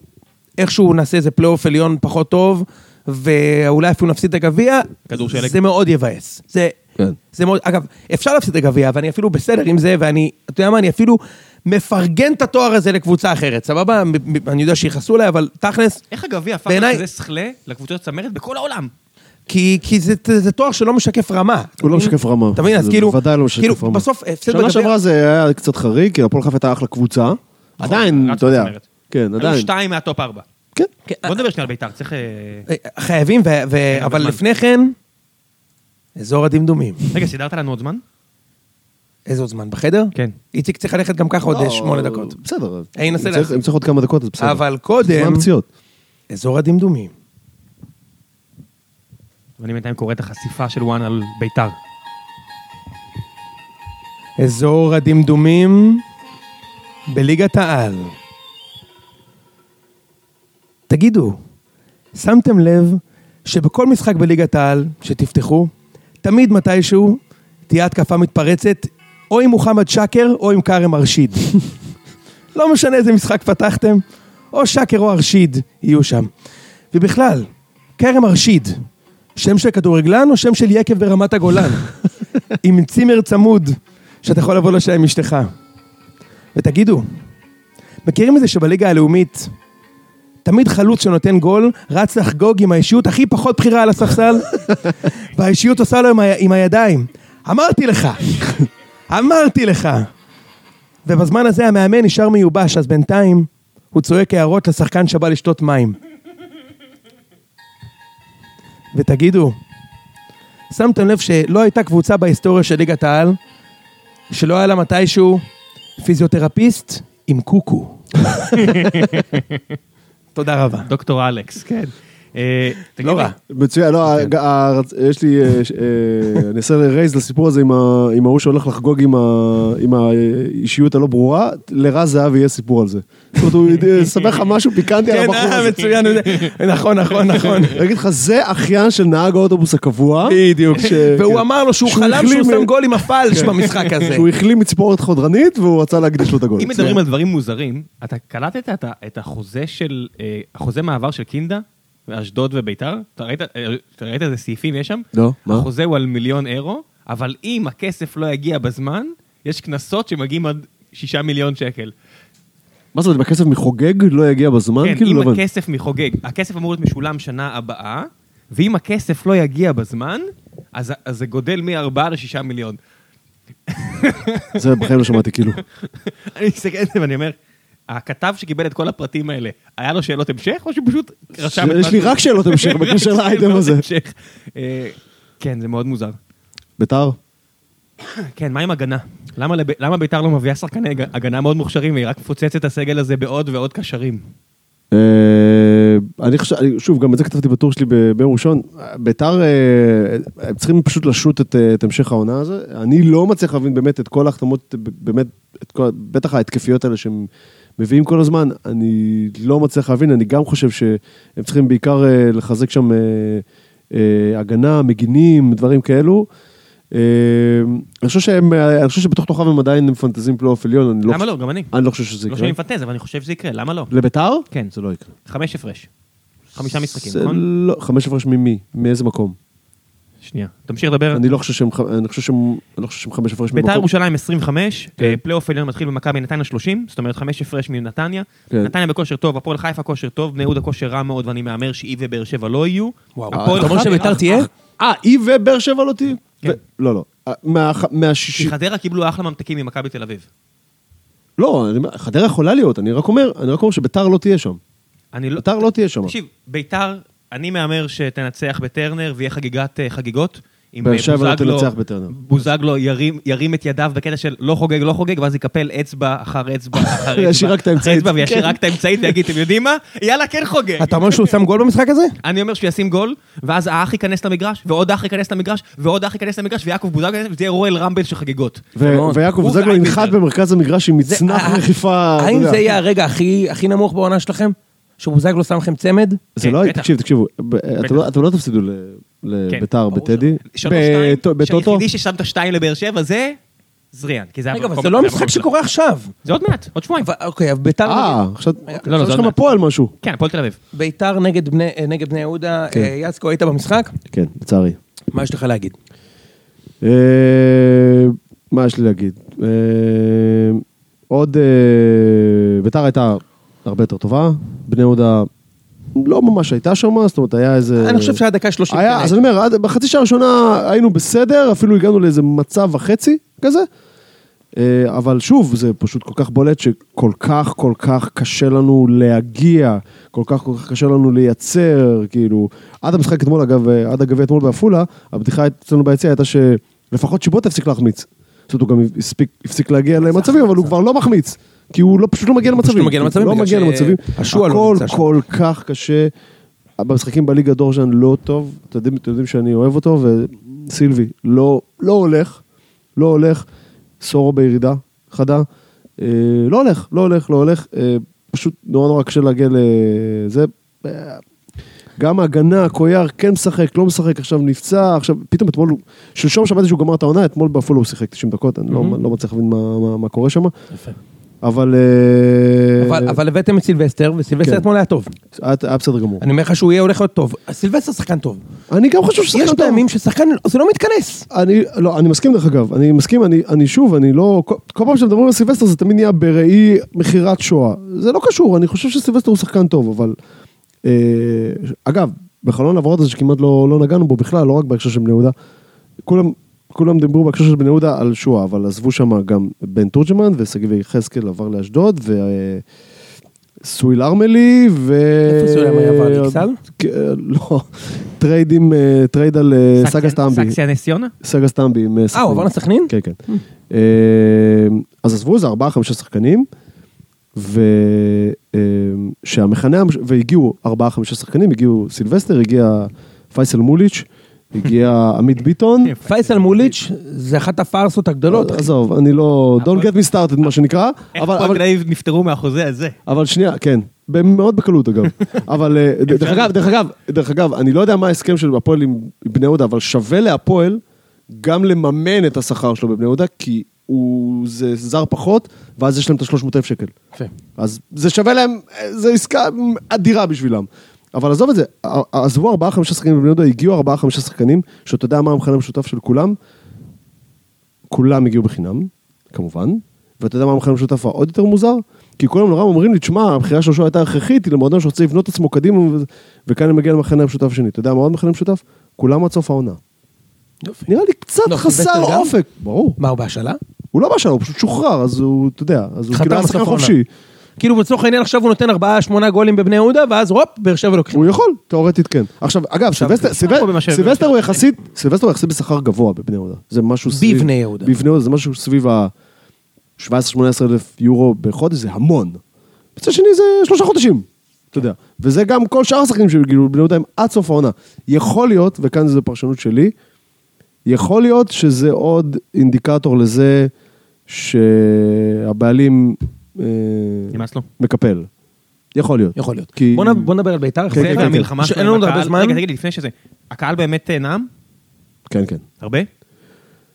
איכשהו נעשה איזה פלייאוף עליון פחות טוב, ואולי אפילו נפסיד את הגביע,
כדור שלג.
זה מאוד יבאס. זה,
כן.
זה מאוד, אגב, אפשר להפסיד את הגביע, ואני אפילו בסדר עם זה, ואני, אתה יודע מה, אני אפילו מפרגן את התואר הזה לקבוצה אחרת, סבבה? מ- מ- אני יודע שיכעסו עליי, אבל תכלס,
איך הגביע הפך
בעיניי-
כזה שכלה לקבוצות צמרת בכל העולם?
כי, כי זה, זה תואר שלא משקף רמה.
הוא לא משקף רמה.
אתה מבין? אז
זה
כאילו...
בוודאי לא משקף
כאילו,
רמה.
בסוף, הפסד
שנה
בגביע...
שעברה זה היה קצת חריג, כי הפועל חיפה הייתה אחלה
נכון,
קבוצה. עדיין,
רצו
אתה יודע.
בצמרת.
כן,
היו
עדיין.
שתיים מהטופ ארבע.
כן.
כן,
בוא נדבר שנייה על בית"ר, צריך... אה,
אה, חייבים, ו- ו- אבל
בזמן.
לפני כן, אזור הדמדומים.
רגע, סידרת לנו עוד זמן?
איזה עוד זמן? בחדר?
כן.
איציק צריך ללכת גם ככה עוד אה,
לא,
שמונה דקות.
בסדר.
אני אנסה
אם צריך-
להחזיר.
אם צריך עוד כמה דקות, אז בסדר.
אבל קודם-
זמן פציעות.
אזור הדמדומים.
ואני בינתיים קורא את החשיפה של וואן על בית"ר.
אזור הדמדומים בליגת העל. תגידו, שמתם לב שבכל משחק בליגת העל שתפתחו, תמיד מתישהו תהיה התקפה מתפרצת, או עם מוחמד שקר או עם כרם ארשיד. לא משנה איזה משחק פתחתם, או שקר או ארשיד יהיו שם. ובכלל, כרם ארשיד, שם של כדורגלן או שם של יקב ברמת הגולן? עם צימר צמוד, שאתה יכול לבוא לשם עם אשתך. ותגידו, מכירים את זה שבליגה הלאומית תמיד חלוץ שנותן גול רץ לחגוג עם האישיות הכי פחות בכירה על הספסל, והאישיות עושה לו עם, ה... עם הידיים. אמרתי לך, אמרתי לך. ובזמן הזה המאמן נשאר מיובש, אז בינתיים הוא צועק הערות לשחקן שבא לשתות מים. ותגידו, שמתם לב שלא הייתה קבוצה בהיסטוריה של ליגת העל שלא היה לה מתישהו פיזיותרפיסט עם קוקו. תודה רבה.
דוקטור אלכס, כן. אה, תגיד
לא
לי,
רע.
מצוין, לא,
אוקיי.
ה- ה- ה- יש לי, אה, ש- אה, אני אעשה רייז לסיפור הזה עם ה- עם ההוא שהולך לחגוג עם ה- עם האישיות הלא ברורה, לרז זהב יהיה סיפור על זה. זאת אומרת, הוא יודע- יספר לך משהו פיקנטי על
כן,
הבחור
אה,
הזה.
מצוין, נכון, נכון, נכון.
אני אגיד לך, זה אחיין של נהג האוטובוס הקבוע.
בדיוק.
ש- כן.
והוא אמר לו אה, שהוא אה, כן.
שהוא
חלם
החלים-
שהוא שם גול עם הפלש במשחק הזה.
שהוא החלים מצפורת חודרנית והוא רצה להקדיש לו את הגול.
אם מדברים על דברים מוזרים, אתה קלטת את ה- את החוזה של, אה, החוזה מעבר של קינדה, אשדוד וביתר? אתה ראית- אה, אתה ראית איזה סעיפים יש שם?
לא, מה?
החוזה הוא על מיליון אירו, אבל אם הכסף לא יגיע בזמן, יש קנסות שמגיעים עד שישה מיליון שקל.
מה זאת אומרת, הכסף מחוגג לא יגיע בזמן?
כן,
כאילו, לא
אם
הבנתי.
הכסף מחוגג, הכסף אמור להיות משולם שנה הבאה, ואם הכסף לא יגיע בזמן, אז אז זה גודל מ-4 ל-6 מיליון.
זה בחיים לא שמעתי, כאילו.
אני מסתכל על זה ואני אומר, הכתב שקיבל את כל הפרטים האלה, היה לו שאלות המשך, או שהוא פשוט רשם את
יש לי
שהוא-
רק שאלות המשך בקשר לאייטם
שאלות
הזה.
המשך. אה, כן, זה מאוד מוזר.
ביתר?
כן, מה עם הגנה? למה לב- למה ביתר לא מביאה שחקני הג- הגנה מאוד מוכשרים, והיא רק מפוצצת את הסגל הזה בעוד ועוד קשרים?
אה, אני חושב, אני- שוב, גם את זה כתבתי בטור שלי ב- ביום ראשון. ביתר, אה, הם צריכים פשוט לשוט את אה, את המשך העונה הזו. אני לא מצליח להבין באמת את כל ההחתמות, ב- באמת, את כל- בטח ההתקפיות האלה שהם מביאים כל הזמן. אני לא מצליח להבין, אני גם חושב שהם צריכים בעיקר אה, לחזק שם אה, אה, הגנה, מגינים, דברים כאלו. אה, אני חושב שהם, אה, אני חושב שבתוך תוכם הם עדיין מפנטזים פלייאוף עליון. אני
למה
חושב-
לא? גם אני.
אני לא חושב שזה
לא
יקרה.
שאני מפנטז, אבל אני חושב שזה יקרה, למה לא?
לביתר?
כן.
זה לא יקרה.
חמש הפרש. חמישה משחקים,
זה
נכון?
לא, חמש הפרש ממי? מאיזה מקום?
שנייה. תמשיך לדבר.
אני לא חושב שהם, ח- אני חושב שהם, אני לא חושב שהם חמש הפרש ממקום.
אה. ביתר ירושלים 25,
כן.
אה, פלייאוף עליון מתחיל במכבי נתניה 30, זאת אומרת חמש הפרש מנתניה.
כן.
נתניה בכושר טוב, הפועל חיפה כושר טוב, בני יהודה כושר רע מאוד, ואני מהמר שהיא ובאר שבע לא יהיו.
וואו,
הפועל
אתה אומר
חיפה-
שביתר תהיה?
אה, היא ובאר שבע לא תהיי?
כן.
ו- לא, לא. אה, מה- ח-
כי
מהשישי...
חדרה קיבלו אחלה ממתקים ממכבי תל אביב.
לא, אני אומר, חדרה יכולה להיות, אני רק אומר, אני רק אומר שביתר לא תהיה שם.
אני לא...
ביתר לא תהיה שם.
תקשיב, ביתר, אני מהמר שתנצח בטרנר ויהיה חגיגת אה, חגיגות. אם,
באר
אה,
שבע לא
בוזגלו-
תנצח בטרנר.
בוזגלו ירים, ירים את ידיו בקטע של לא חוגג, לא חוגג, ואז יקפל אצבע אחר אצבע אחר אצבע.
ישיר רק את
אחר
האמצעית.
אצבע,
כן.
וישיר רק את האמצעית ויגיד, אתם יודעים מה? יאללה, כן חוגג.
אתה אומר שהוא שם גול במשחק הזה?
אני אומר שהוא ישים גול, ואז האח ייכנס למגרש, ועוד אח ייכנס למגרש, ועוד אח ייכנס למגרש, ויעקב בוזגלו ייכנס, וזה יהיה רואל רמבל של חגיגות.
ו-
מאוד.
ויעקב
הוא
זגלו
ואייבינדר.
ינחת במרכז המגרש עם
זה-
מצנח
אה,
רכיפה... אתה
האם
יודע.
זה יהיה הרגע הכי הכי נמוך בעונה שלכם? שבוזגלו שם לכם צמד?
זה
כן,
לא,
בטח.
תקשיב, תקשיבו, ב- אתם לא- אתם לא תפסידו ל-
כן,
לביתר
ברור
אה, בטדי.
שלוש
בטו-
שתיים,
בטוטו?
שהיחידי ששם את השתיים לבאר שבע זה זריאן, כי זה היה
רגע, אבל
במקום-
זה לא
היה
המשחק
במקום שלו.
שקורה עכשיו.
זה עוד מעט, עוד שבועיים.
אבל- אוקיי, אבל ביתר...
אה, עכשיו
רגע,
עכשיו
לא,
יש
זה
לך
עוד מעט.
בפועל משהו.
כן, הפועל תל אביב.
ביתר נגד בני, אה, נגד בני יהודה,
כן.
אה, יצקו, היית במשחק?
כן, לצערי.
מה יש לך להגיד?
אה, מה יש לי להגיד? אה, עוד, אה, ביתר הייתה הרבה יותר טובה, בני יהודה לא ממש הייתה שם, זאת אומרת, היה איזה...
אני חושב שהיה דקה שלושים.
היה, אז אני אומר, עד- בחצי שעה הראשונה היינו בסדר, אפילו הגענו לאיזה מצב וחצי כזה. אה, אבל שוב, זה פשוט כל כך בולט שכל כך כל כך קשה לנו להגיע, כל כך כל כך קשה לנו לייצר, כאילו... עד המשחק אתמול, אגב, אה, עד הגביע אתמול בעפולה, הבדיחה אצלנו ביציע הייתה שלפחות שיבוט הפסיק להחמיץ. זאת אומרת, הוא גם הספיק, הפסיק להגיע למצבים, אבל הוא כבר לא מחמיץ. כי הוא לא, פשוט לא מגיע למצבים.
לא מגיע
הוא
למצבים,
לא
בגלל
מגיע
ש-
למצבים.
השוע לא
הכל
נמצא שם.
כל כך קשה. במשחקים בליגה דורז'אן לא טוב, אתם יודעים, אתם יודעים שאני אוהב אותו, וסילבי, לא, לא הולך, לא הולך. סורו בירידה חדה, אה, לא הולך, לא הולך, לא הולך. אה, פשוט נורא נורא קשה להגיע לזה. אה, גם ההגנה, קויאר כן משחק, לא משחק, עכשיו נפצע, עכשיו, פתאום אתמול, הוא- שלשום שמעתי שהוא גמר את העונה, אתמול בעפולה הוא שיחק 90 דקות, אני לא, לא מצליח להבין מה, מה, מה קורה שם. אבל... אה,
אבל- אבל הבאתם את סילבסטר, וסילבסטר
כן.
אתמול היה טוב.
היה היה בסדר גמור.
אני אומר לך שהוא יהיה הולך להיות טוב. אז סילבסטר שחקן טוב.
אני גם חושב ששחקן
יש
טוב.
פעמים ששחקן, זה לא מתכנס.
אני, לא, אני מסכים דרך אגב, אני מסכים, אני, אני שוב, אני לא, כל, כל פעם שמדברים על סילבסטר זה תמיד נהיה בראי מכירת שואה. זה לא קשור, אני חושב שסילבסטר הוא שחקן טוב, אבל... אה, אגב, בחלון העברות הזה שכמעט לא, לא נגענו בו בכלל, לא רק בהקשר של בני יהודה, כולם, כולם דיברו בהקשר של בני יהודה על שואה, אבל עזבו שם גם בן תורג'מן ושגיב יחזקאל עבר לאשדוד, ו... אה, סויל ארמלי ו...
איפה סויל ארמלי עבר? לאכסל?
כן, לא, טרייד עם, אה, טרייד על אה, סאגה סטמבי.
סקסיה נס ציונה?
סגה סטמבי עם אה, סכנין.
הוא עבר לסכנין? Hmm.
כן, כן. אה, אז עזבו איזה ארבעה, חמישה שחקנים, ו- אה, שהמכנה, המש- והגיעו ארבעה, חמישה שחקנים, הגיעו סילבסטר, הגיע פייסל מוליץ', הגיע עמית ביטון.
פייסל מוליץ' זה אחת הפארסות הגדולות.
עזוב, אני לא... Don't get me started, מה שנקרא.
איך
אבל- אבל-
פועל תל אביב נפטרו מהחוזה הזה?
אבל שנייה, כן. מאוד בקלות אגב, אבל אה, ד- דרך אגב, דרך אגב, דרך אגב, אני לא יודע מה ההסכם של הפועל עם בני יהודה, אבל שווה להפועל גם לממן את השכר שלו בבני יהודה, כי הוא זה זר פחות, ואז יש להם את ה-300,000 שקל.
יפה.
אז זה שווה להם, זו עסקה אדירה בשבילם. אבל עזוב את זה, ע- עזבו ארבעה חמישה שחקנים בבני יהודה, הגיעו ארבעה חמישה שחקנים, שאתה יודע מה המכנה המשותף של כולם? כולם הגיעו בחינם, כמובן, ואתה יודע מה המכנה המשותף העוד יותר מוזר? כי כולם נורא אומרים לי, תשמע, הבחירה של שואה הייתה הכרחית, היא למועדון שרוצה לבנות את עצמו קדימה, ו- וכאן אני מגיע למכנה המשותף השני. אתה יודע מה עוד מכנה משותף? כולם עד סוף העונה.
יופי.
נראה לי קצת
לא,
חסר
סילבסטר גם?
אופק. ברור.
מה, הוא בהשאלה?
הוא לא בשלב, הוא פשוט שוחרר, אז הוא, אתה יודע, אז הוא
חתם
כאילו היה
בסוף
שחקן
העונה.
חופשי.
כאילו לצורך העניין עכשיו הוא נותן ארבעה, שמונה גולים בבני יהודה, ואז הופ, באר שבע לוקחים.
הוא יכול, תאורטית כן. עכשיו, אגב, סילבסטר-
תשמע
נכון
פה במה ש-
סילבסטר סילבסטר
כן.
הוא יחסית, סילבסטר הוא יחסית בשכר גבוה בבני יהודה. זה משהו סביב...
בבני יהודה.
בבני יהודה, זה משהו סביב ה... 17-18 אלף יורו בחודש, זה המון. מצד שני זה שלושה חודשים, אתה יודע. וזה גם כל שאר השחקנים שהגיעו בבני יהודה הם עד סוף העונה. יכול להיות, וכאן זו פרשנות שלי, יכול להיות שזה עוד אינדיקטור לזה שהבעלים... אה,
נמאס
כן,
לו.
מקפל. יכול להיות.
יכול להיות.
כי-
בוא נ- בוא נדבר על בית"ר.
כן,
זה
כן,
והמלחמה
שאין
שלהם
לנו עוד
בקהל.
הרבה זמן.
רגע, תגיד לי, לפני שזה, הקהל באמת אה, נאם?
כן, כן.
הרבה?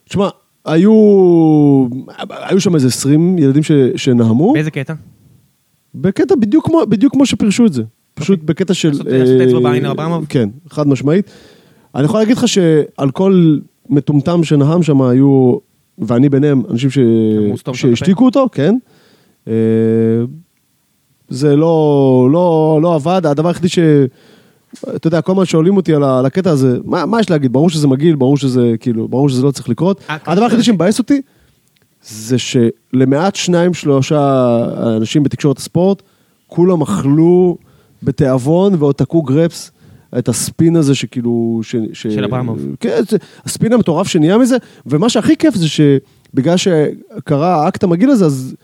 תשמע, היו, היו שם איזה 20 ילדים ש, שנהמו,
באיזה קטע?
בקטע בדיוק כמו, בדיוק כמו שפירשו את זה. פשוט בקטע של...
אוקיי. לעשות- לעשות אצבע
אה,
בעין לאברמוב?
כן, חד משמעית. אני יכול להגיד לך שעל כל מטומטם שנהם שם היו, ואני ביניהם, אנשים ש...
אמרו, "סתום את הפה".
שהשתיקו אותו, כן. אה, זה לא, לא, לא עבד, הדבר היחידי ש... אתה יודע, כל מה שואלים אותי על ה- על הקטע הזה, מה, מה יש להגיד? ברור שזה מגעיל, ברור שזה כאילו, ברור שזה לא צריך לקרות.
אה,
הדבר היחידי שמבאס אותי, זה שלמעט שניים שלושה אנשים בתקשורת הספורט, כולם אכלו בתיאבון ועוד תקעו גרפס את הספין הזה שכאילו... ש, ש,
של אברמוב.
כן, זה- הספין המטורף שנהיה מזה, ומה שהכי כיף זה שבגלל שקרה האקט המגעיל הזה, אז...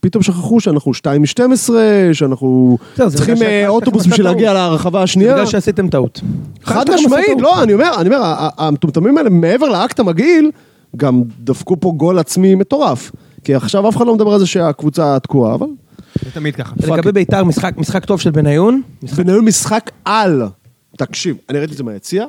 פתאום שכחו שאנחנו 2 מ-12, שאנחנו
בסדר, זה
צריכים
בגלל
אה,
שהקהל
אוטובוס
שלכם
בשביל
עשה
להגיע לרחבה השנייה.
בגלל שעשיתם טעות.
חד משמעית, לא, אני אומר, אני אומר, ה- ה- המטומטמים האלה, מעבר לאקט המגעיל, גם דפקו פה גול עצמי מטורף. כי עכשיו אף אחד לא מדבר על זה שהקבוצה תקועה, אבל...
זה תמיד ככה.
לגבי בית"ר, משחק- משחק טוב של בניון.
בניון משחק על. תקשיב, אני ראיתי את זה מהיציע.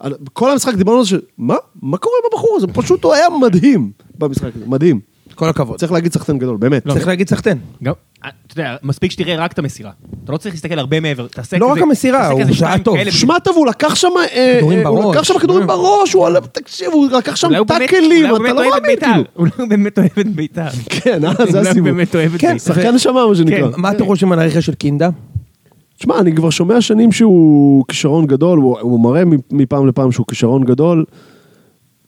על- כל המשחק דיברנו על זה ש... מה? מה קורה עם הבחור הזה? פשוט הוא היה מדהים במשחק הזה, מדהים.
כל הכבוד.
לא.
צריך להגיד סחטן גדול, באמת.
צריך להגיד סחטן.
גם- אה, אתה יודע, מספיק שתראה רק את המסירה. אתה לא צריך להסתכל הרבה מעבר. תעשה
לא
כזה-
רק המסירה,
תעשה
הוא
כזה
שעה
שתיים
טוב.
כאלה,
שמע טוב, הוא לקח שם... אה,
כדורים
אה, הוא
בראש.
לקח שם כדורים בראש, הוא עלה... תקשיב, הוא לקח שם
לא. אולי הוא באמת-
טאקלים,
אולי הוא
אתה
באמת אוהב את
לא מאמין,
בית"ר.
כאילו.
אולי הוא באמת אוהב את בית"ר.
כן, אה, זה
אולי הוא
הסיבוב.
באמת אוהב את
כן,
בית"ר.
שחקן נשמה, מה שנקרא.
כן.
מה אתם חושבים על הרכש של קינדה?
תשמע, אני כבר שומע שנים שהוא כישרון גדול, הוא, הוא מראה מפעם לפעם שהוא כישרון גדול.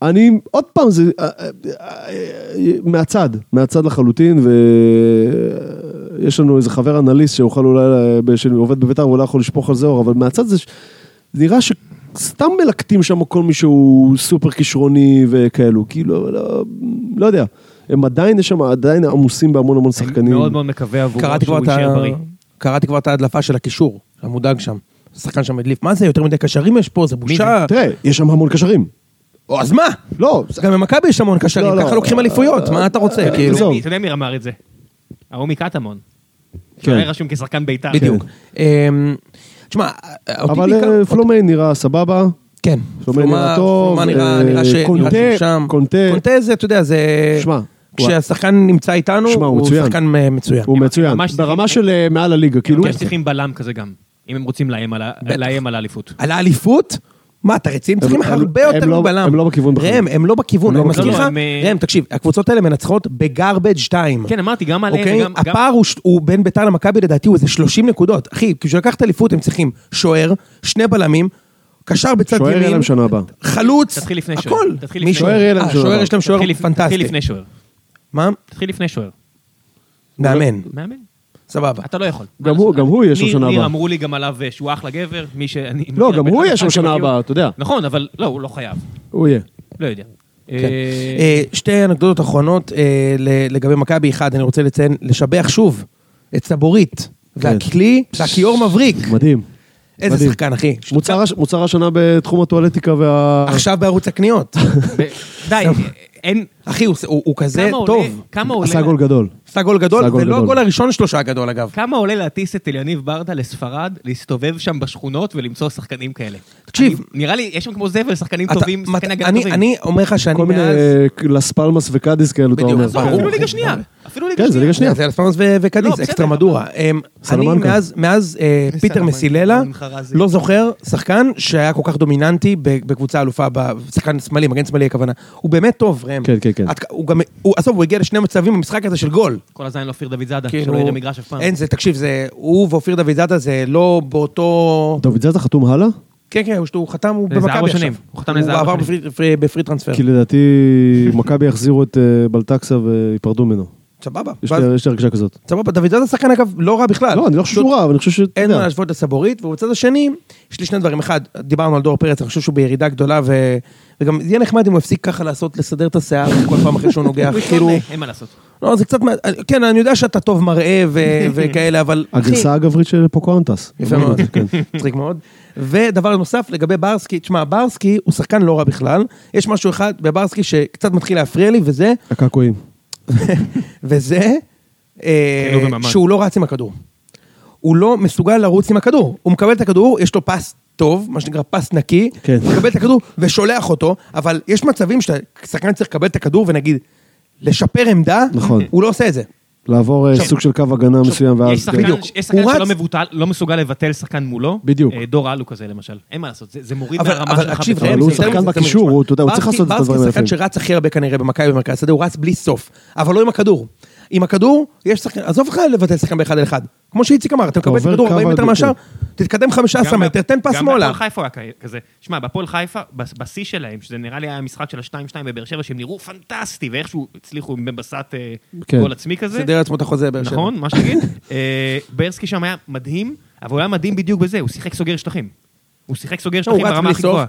אני, עוד פעם, זה אה, אה, אה, מהצד, מהצד לחלוטין, ויש לנו איזה חבר אנליסט שאוכל אולי, אה, ב- שעובד בבית"ר, הוא אולי יכול לשפוך על זה אור, אבל מהצד זה, ש- זה נראה שסתם מלקטים שם כל מי שהוא סופר כישרוני וכאלו, כאילו, לא, לא יודע. הם עדיין, יש שם עדיין עמוסים בהמון המון
אני
שחקנים.
מאוד מאוד מקווה עבורו
קראתי כבר
שהוא
את
יישאר
ה-
בריא.
קראתי כבר את ההדלפה של הקישור, המודאג שם. השחקן שם הדליף. מה זה, יותר מדי קשרים יש פה, זה בושה.
תראה, יש שם המון קשרים.
או, אז מה?
לא,
גם במכבי יש המון
לא, אה,
קשרים,
לא.
ככה לוקחים אליפויות, מה אתה רוצה,
אתה יודע
כאילו?
עזוב.
מי- אתה יודע מי אמר את זה? ההוא מקטמון. שהיה רשום כשחקן בית"ר.
כן.
כן.
בדיוק. אמ, תשמע, אותי
כן. אבל
בעיקר...
אה, פלומיין נראה סבבה,
כן.
פלומה נראה טוב,
פלומה נראה
אה,
נראה ש- נראה
קונטה,
שהוא שם.
קונטה.
קונטה זה, אתה יודע, זה...
שמע,
כשהשחקן נמצא איתנו,
שמע, הוא
הוא
מצוין.
שחקן אה, מצוין.
הוא מצוין,
ממש
ברמה
צריכים-
של אה, מעל
כן,
הליגה, כאילו,
לא-
יש צריכים בלם כזה גם, אם הם רוצים לאיים על ה- לאיים על האליפות.
על האליפות? מה, אתה רציני? צריכים
הם-
הרבה
הם
יותר
לא-
מבלם.
הם לא בכיוון בכלל.
ראם, הם לא בכיוון,
הם לא
אני מזכיר
בכיוון.
לך,
לא, הם, אה,
ראם, תקשיב, הקבוצות האלה מנצחות בגארבג' 2.
כן, אמרתי, גם עליהם
אוקיי?
וגם- גם-
הפער הוא ש- הוא בין ביתר למכבי לדעתי הוא איזה 30 נקודות. אחי, בשביל לקחת אליפות הם צריכים שוער, שני בלמים, קשר בצד
שוער יהיה
ימין,
להם שנה הבאה.
חלוץ,
תתחיל לפני שוער.
הכל.
תתחיל
מי
לפני
שוער. יהיה להם
אה,
שוער.
שוער יש להם שוער
תתחיל לפ- תתחיל
פנטסטי.
לפני שוער.
מה?
תתחיל לפני שוער.
מאמן,
מאמן?
סבבה.
אתה לא יכול.
גם הוא- גם הוא יהיה שם
ניר-
שנה
ניר
הבאה.
אמרו לי גם עליו אה, שהוא אחלה גבר, מי שאני...
לא, גם הוא יהיה שם
אני
שנה
מכיר.
הבאה, אתה יודע.
נכון, אבל לא, הוא לא חייב.
הוא יהיה.
לא יודע.
כן.
אה,
אה, שתי אנקדוטות אחרונות אה, ל- לגבי מכבי. אחד, אני רוצה לציין, לשבח שוב את
כן.
סבורית. והכלי, והכיור מבריק.
מדהים.
איזה
מדהים.
שחקן, אחי.
מוצר הש- מוצר השנה בתחום הטואלטיקה וה...
עכשיו בערוץ הקניות.
די, אין...
אחי, הוא- הוא הוא כזה
כמה עולה-
טוב.
כמה עולה...
עשה גול גדול.
עשה גול גדול,
עשה גול
ולא
גדול.
הגול הראשון שלו שהיה גדול אגב.
כמה עולה להטיס את אליניב ברדה לספרד, להסתובב שם בשכונות ולמצוא שחקנים כאלה?
תקשיב.
אני- נראה לי, יש שם כמו זבל שחקנים
אתה-
כן, טובים,
מת-
שחקני הגנה
אני-
טובים.
אני אומר לך שאני
כל מיני
מאז...
אה, לס פלמס וקאדיס כאלה, אתה
בדיוק,
אומר.
עזוב,
עזוב,
ברור.
אפילו ליגה שנייה. אפילו ליגה
כן, זה ליגה שנייה.
זה אלספרנס וקדיס,
לא, בסדר,
אקסטרה מדורה. אמ, אני
סלמנקה.
מאז- מאז אה, פיטר
סלמנקה,
מסיללה,
עם חרזי.
לא זוכר שחקן שהיה כל כך דומיננטי ב- בקבוצה אלופה, ב- שחקן שמאלי, מגן שמאלי הכוונה. הוא באמת טוב, ראם.
כן, כן, כן.
את- הוא גם, הוא- עזוב, הוא הגיע לשני מצבים במשחק הזה של גול.
כל הזין לא אופיר דוד זאדה,
כאילו,
שלא יראה מגרש אף פעם.
אין זה, תקשיב, זה, הוא ואופיר דוד זאדה זה לא באותו...
דוד זאדה חתום הלאה?
כן, כן, הוא- הוא חתם, הוא
זה איזה
במכבי
ארבע
עכשיו.
שנים. הוא חתם לאיזה ארבע
עבר
שנים.
בפרי- בפרי- בפרי טרנספר.
כי לדעתי מכבי יחזירו את אה, בלטקסה ויפרדו ממנו.
סבבה.
יש
ואז-
לי יש לי הרגשה כזאת.
סבבה, דוד זאדה שחקן אגב לא רע בכלל.
לא, אני לא חושב
פשוט
שהוא רע, אבל אני חושב ש... אתה
אין
יודע.
מה להשוות לסבורית, ובצד השני, יש לי שני דברים. אחד, דיברנו על דור פרץ, אני חושב שהוא בירידה גדולה, ו... וגם יהיה נחמד אם הוא יפסיק ככה לעשות, לסדר את השיער כל פעם אחרי שהוא נוגח,
הוא
כאילו...
יתלונן, אין מה לעשות.
לא, זה קצת... מה- כן, אני יודע שאתה טוב מראה ו... וכאלה, אבל... אחי,
הגרסה הגברית של פוקהונטס.
יפה מאוד, מצחיק מאוד. ודבר נוסף לגבי ברסקי, תשמע, ברסקי הוא שחקן לא רע בכלל, יש משהו אחד בברסקי שקצת מתחיל להפריע לי, וזה,
הקעקועים.
וזה אה,
כן, הוא וממן.
שהוא לא רץ עם הכדור. הוא לא מסוגל לרוץ עם הכדור. הוא מקבל את הכדור, יש לו פס טוב, מה שנקרא פס נקי,
כן.
הוא מקבל את הכדור ושולח אותו, אבל יש מצבים שהשחקן צריך לקבל את הכדור ונגיד, לשפר עמדה,
נכון.
הוא לא עושה את זה.
לעבור אה, סוג של קו הגנה מסוים ואז...
יש שחקן-
בדיוק.
יש שחקן
הוא
שלא
רץ-
מבוטל, לא מסוגל לבטל שחקן מולו.
בדיוק.
אה, דור אלו כזה למשל. אין מה לעשות, זה- זה מוריד
אבל-
מהרמה
אבל
שלך.
תקשיב,
בטוח.
ראם,
אבל הוא
זה יותר
שחקן
מזה, זה
בקישור,
משמע.
הוא, אתה יודע, הוא צריך
ברסקי-
לעשות את הדברים
ברסקי
היפים.
שחקן שרץ הכי הרבה כנראה במכבי במרכז השדה, הוא רץ בלי סוף. אבל לא עם הכדור. עם הכדור, יש שחקן, עזוב לך לבטל שחקן באחד על אחד. כמו שאיציק אמר, אתה מקבל את
עובר
הכדור
קו
40 מטר
הדוק.
מהשאר, תתקדם 15
גם
מטר,
בהפ-
תן פס
גם
שמאלה.
בהפועל חיפה הוא היה כ- כזה. שמע, בהפועל חיפה, בס- בשיא שלהם, שזה נראה לי היה המשחק של ה-2-2 בבאר שבע, שהם נראו פנטסטי, ואיכשהו הצליחו עם מבסת אה,
כן.
גול עצמי כזה.
סידר לעצמו את החוזה באר שבע.
נכון, מה שתגיד. אה, ברסקי שם היה מדהים, אבל הוא היה מדהים בדיוק בזה, הוא שיחק סוגר שטחים. הוא שיחק סוגר
עכשיו
שטחים
הוא רץ
ברמה
בלי
הכי
סוף.
גבוהה.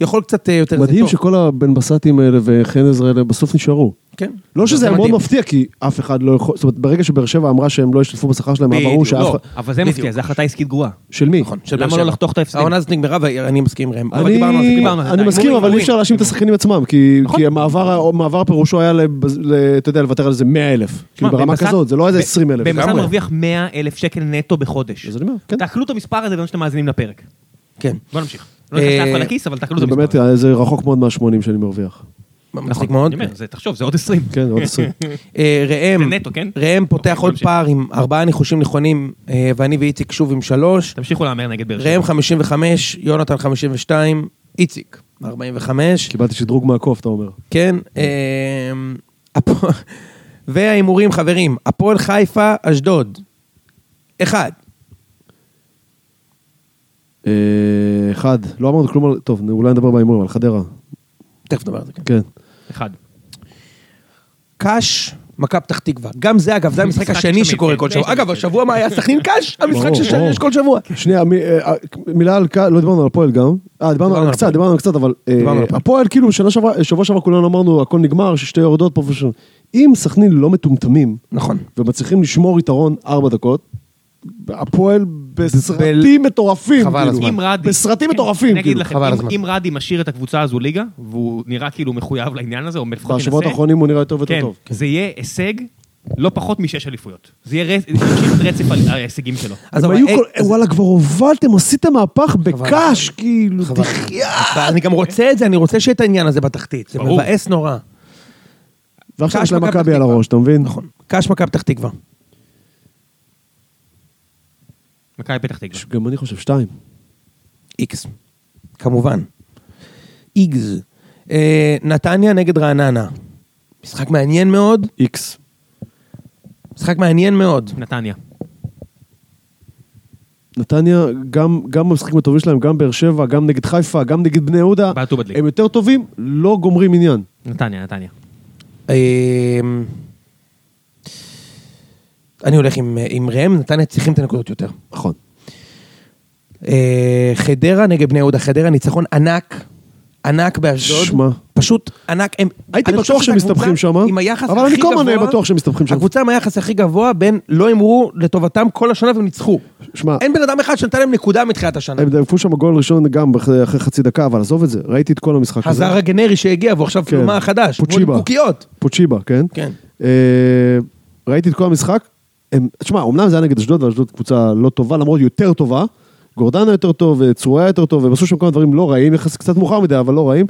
יכול קצת אה, יותר... זה
מדהים
טוב.
שכל הבן בסטים האלה וחן עזרא האלה בסוף נשארו.
כן.
לא שזה
זה
היה מאוד
מדהים.
מפתיע, כי אף אחד לא יכול... זאת אומרת, ברגע שבאר שבע אמרה שהם לא השתתפו בשכר שלהם, היה ברור
בדיוק,
שאף
לא.
אחד...
אבל זה
בדיוק.
מפתיע, זו החלטה עסקית גרועה.
של מי?
נכון, של
למה
באר
לא
שבע.
לחתוך את ההפסדים?
העונה הזאת נגמרה, ואני מסכים עם ראם. אבל
אני,
דיברנו על זה, דיברנו על זה. נכון.
אני
די.
מסכים, אבל אי
הימורים.
אפשר להאשים את השחקנים עצמם, כי, כי המעבר, המעבר פירושו היה, לב- ל- אתה יודע, לוותר על איזה 100 אלף. כאילו ברמה
במסע-
כזאת, זה לא איזה
ב-
20 אלף.
במסע מרוויח 100 אלף שקל נטו בחודש.
אז אני אומר, כן.
תעכלו את המספר הזה בזמן שאתם מאזינים לפרק.
כן.
בוא נמשיך. לא נכנס
אה, לא
לאף על הכיס, אבל תעכלו את
זה
המספר.
באמת,
הזה.
זה רחוק מאוד מה-80 שאני מרוויח.
מצחיק נכון מאוד.
אני אומר, זה- תחשוב, זה עוד 20.
כן, עוד עשרים.
אה, ראם,
זה נטו, כן?
ראם פותח
אוקיי,
עוד
תמשיך.
פער עם ארבעה ניחושים נכונים, אה, ואני ואיציק שוב עם שלוש.
תמשיכו להמר נגד באר שבע.
ראם 55, יונתן 52, איציק 45,
כן.
קיבלתי שדרוג מהקוף, אתה אומר.
כן. אה, הפ- וההימורים, חברים, הפועל חיפה, אשדוד. אחד.
אה, אחד, לא אמרנו כלום על... טוב, אולי נדבר בהימורים, על חדרה.
תכף נדבר על זה, כן.
כן.
אחד.
קאש, מכבי פתח תקווה. גם זה, אגב, זה המשחק
משחק
השני
תמיד,
שקורה
כן,
כל
זה
שבוע.
תמיד.
אגב, השבוע מה היה סכנין קאש? המשחק
ברור, ברור.
שיש כל שבוע.
שנייה, מי- אה, אה, מילה על... קה- לא דיברנו על הפועל גם. אה, דיברנו
דיברנו
על
על
קצת, דיברנו על קצת, אבל... אה,
דיברנו על הפועל.
הפועל, כאילו, שנה שעברה, שבוע שעבר כולנו אמרנו, הכל נגמר, ששתי יורדות פה ושם. אם סכנין לא מטומטמים,
נכון.
ומצליחים לשמור יתרון ארבע דקות, הפועל בסרטים מטורפים,
חבל
כאילו.
הזמן.
אם רדי...
בסרטים
כן,
מטורפים,
אני אגיד
כאילו.
לכם,
חבל
אם-
הזמן.
אם רדי משאיר את הקבוצה הזו ליגה, והוא נראה כאילו מחויב לעניין הזה, או לפחות מנסה...
בשבועות האחרונים הוא נראה יותר ויותר
אוקיי, כן,
טוב.
זה יהיה הישג לא פחות משש אליפויות. זה יהיה רצ- ימשיך את רצף ה- ההישגים שלו.
אז
הם
אבל,
היו
אה,
כל...
אז-
וואלה, כבר הובלתם, עשיתם מהפך בקאש, כאילו,
חבל.
תחיה.
אני גם רוצה את זה, אני רוצה שיהיה את העניין הזה בתחתית. זה
ברור.
מבאס נורא.
ועכשיו
קאש
יש להם
מכבי
מכבי
פתח
על
תקווה.
הראש, אתה מבין?
נכון. קאש מכבי פתח תקווה.
מכבי פתח תקווה.
גם אני חושב שתיים.
איקס. כמובן. איגז. אה, נתניה נגד רעננה. משחק מעניין מאוד.
איקס.
משחק מעניין מאוד.
נתניה.
נתניה, גם, גם במשחקים הטובים שלהם, גם באר שבע, גם נגד חיפה, גם נגד בני יהודה,
בעטו בדלי.
הם יותר טובים, לא גומרים עניין.
נתניה, נתניה.
אה, אני הולך עם, אה, עם ראם, נתניה צריכים את הנקודות יותר.
נכון.
אה, חדרה נגד בני יהודה, חדרה ניצחון ענק, ענק באשדוד.
שמע.
פשוט ענק. הם,
הייתי
אני חושב
בטוח
שזו
שהם מסתבכים
הקבוצה
שם, אה?
עם היחס
אבל אני
הכי
כל הזמן אהיה
גבוה-
בטוח שהם מסתבכים שם.
הקבוצה עם היחס הכי גבוה בין לא הימרו לטובתם כל השנה והם ניצחו.
שמע,
אין בן אדם אחד שנתן להם נקודה מתחילת השנה.
אה. הם דפקו שם גול ראשון גם אחרי אחרי חצי דקה, אבל עזוב את זה, ראיתי את כל המשחק הזה.
הזר הגנרי שהגיע והוא עכשיו
כן.
מה חדש.
פוצ'יבה.
קוקיות.
פוצ'יבה, כן?
כן.
אה, ראיתי את כל המשחק. הם- תשמע, אמנם זה היה נגד אשדוד, ואשדוד קבוצה לא טובה, למרות יותר טובה. גורדנה יותר טוב, צרויה יותר טוב, הם עשו שם כמה דברים לא רעים, יחס קצת מאוחר מדי, אבל לא רעים.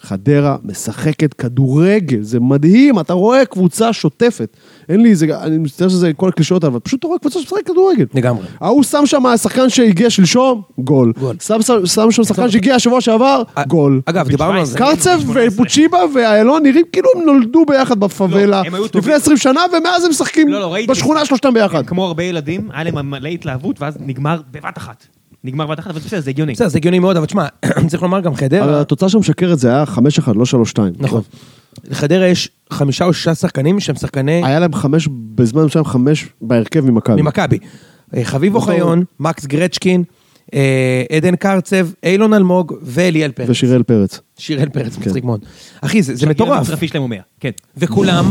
חדרה משחקת כדורגל, זה מדהים, אתה רואה קבוצה שוטפת. אין לי, זה, אני מצטער שזה כל הקלישאות, אבל פשוט אתה רואה קבוצה שמשחקת כדורגל.
לגמרי.
ההוא שם שם השחקן שהגיע שלשום, גול.
גול. אה,
שם, שם, שם שם שחקן שהגיע השבוע שעבר, גול.
אגב, דיברנו על זה.
קרצב ופוצ'יבה ואיילון נראים כאילו הם נולדו ביחד בפאבלה
לא, הם היו
לפני
טובים.
20 שנה, ומאז הם משחקים
לא, לא, ראיתי.
בשכונה שלושתם ביחד.
כמו הרבה ילדים, היה להם מלא התלהבות, ואז נגמר בבת אחת. נגמר בבת אחת, אבל בסדר, זה הגיוני.
בסדר, זה הגיוני מאוד, אבל תשמע, צריך לומר גם
אבל
חדרה.
התוצאה שמשקרת זה היה 5-1, לא 3-2.
נכון. לחדרה יש חמישה או שישה שחקנים שהם שחקני
היה להם חמש, בזמן מסוים חמש בהרכב ממכבי.
ממכבי. אה, חביב אוחיון, מקס גרצ'קין, אה, עדן קרצב, אילון אלמוג ואליאל פרץ.
ושיראל פרץ.
שיראל פרץ, מצחיק מאוד. אחי, זה זה
כאילו
מטורף.
המצרפי שלהם הוא 100. כן.
וכולם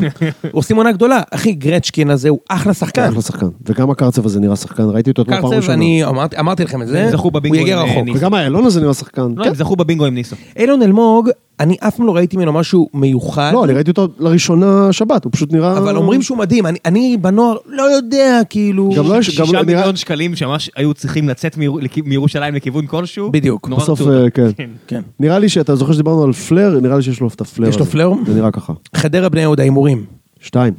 עושים עונה גדולה. אחי, גרצ'קין הזה הוא אחלה שחקן.
אחלה שחקן. וגם הקרצב הזה נראה שחקן, ראיתי אותו אתמול פעם
קרצב,
ראשונה.
אני אמרתי- אמרתי לכם את זה,
הם זכו
הוא
בבינגו
יגיע
עם, אה,
רחוק.
ניס.
וגם איילון הזה נראה שחקן.
לא,
כן.
הם זכו בבינגו עם ניסו.
אילון אלמוג, אני אף פעם לא ראיתי ממנו משהו מיוחד.
לא, אני לא- ראיתי אותו לראשונה שבת, הוא פשוט נראה...
אבל אומרים שהוא מדהים, אני, אני בנוער לא יודע, כאילו...
גם לא יש- גם
שישה
לא נראה-
מיליון שקלים שממש היו צריכים לצאת מיר- לכי- מירושלים לכיוון כלשהו.
בדיוק.
נורא
בסוף,
רצו אותם.
אה, כן.
כן.
נראה לי שאתה זוכר שדיברנו על פלר, נראה לי שיש לו את הפלר
יש לו
הזה.
פלר?
זה נראה ככה.
חדרה בני יהודה, הימורים.
שתיים.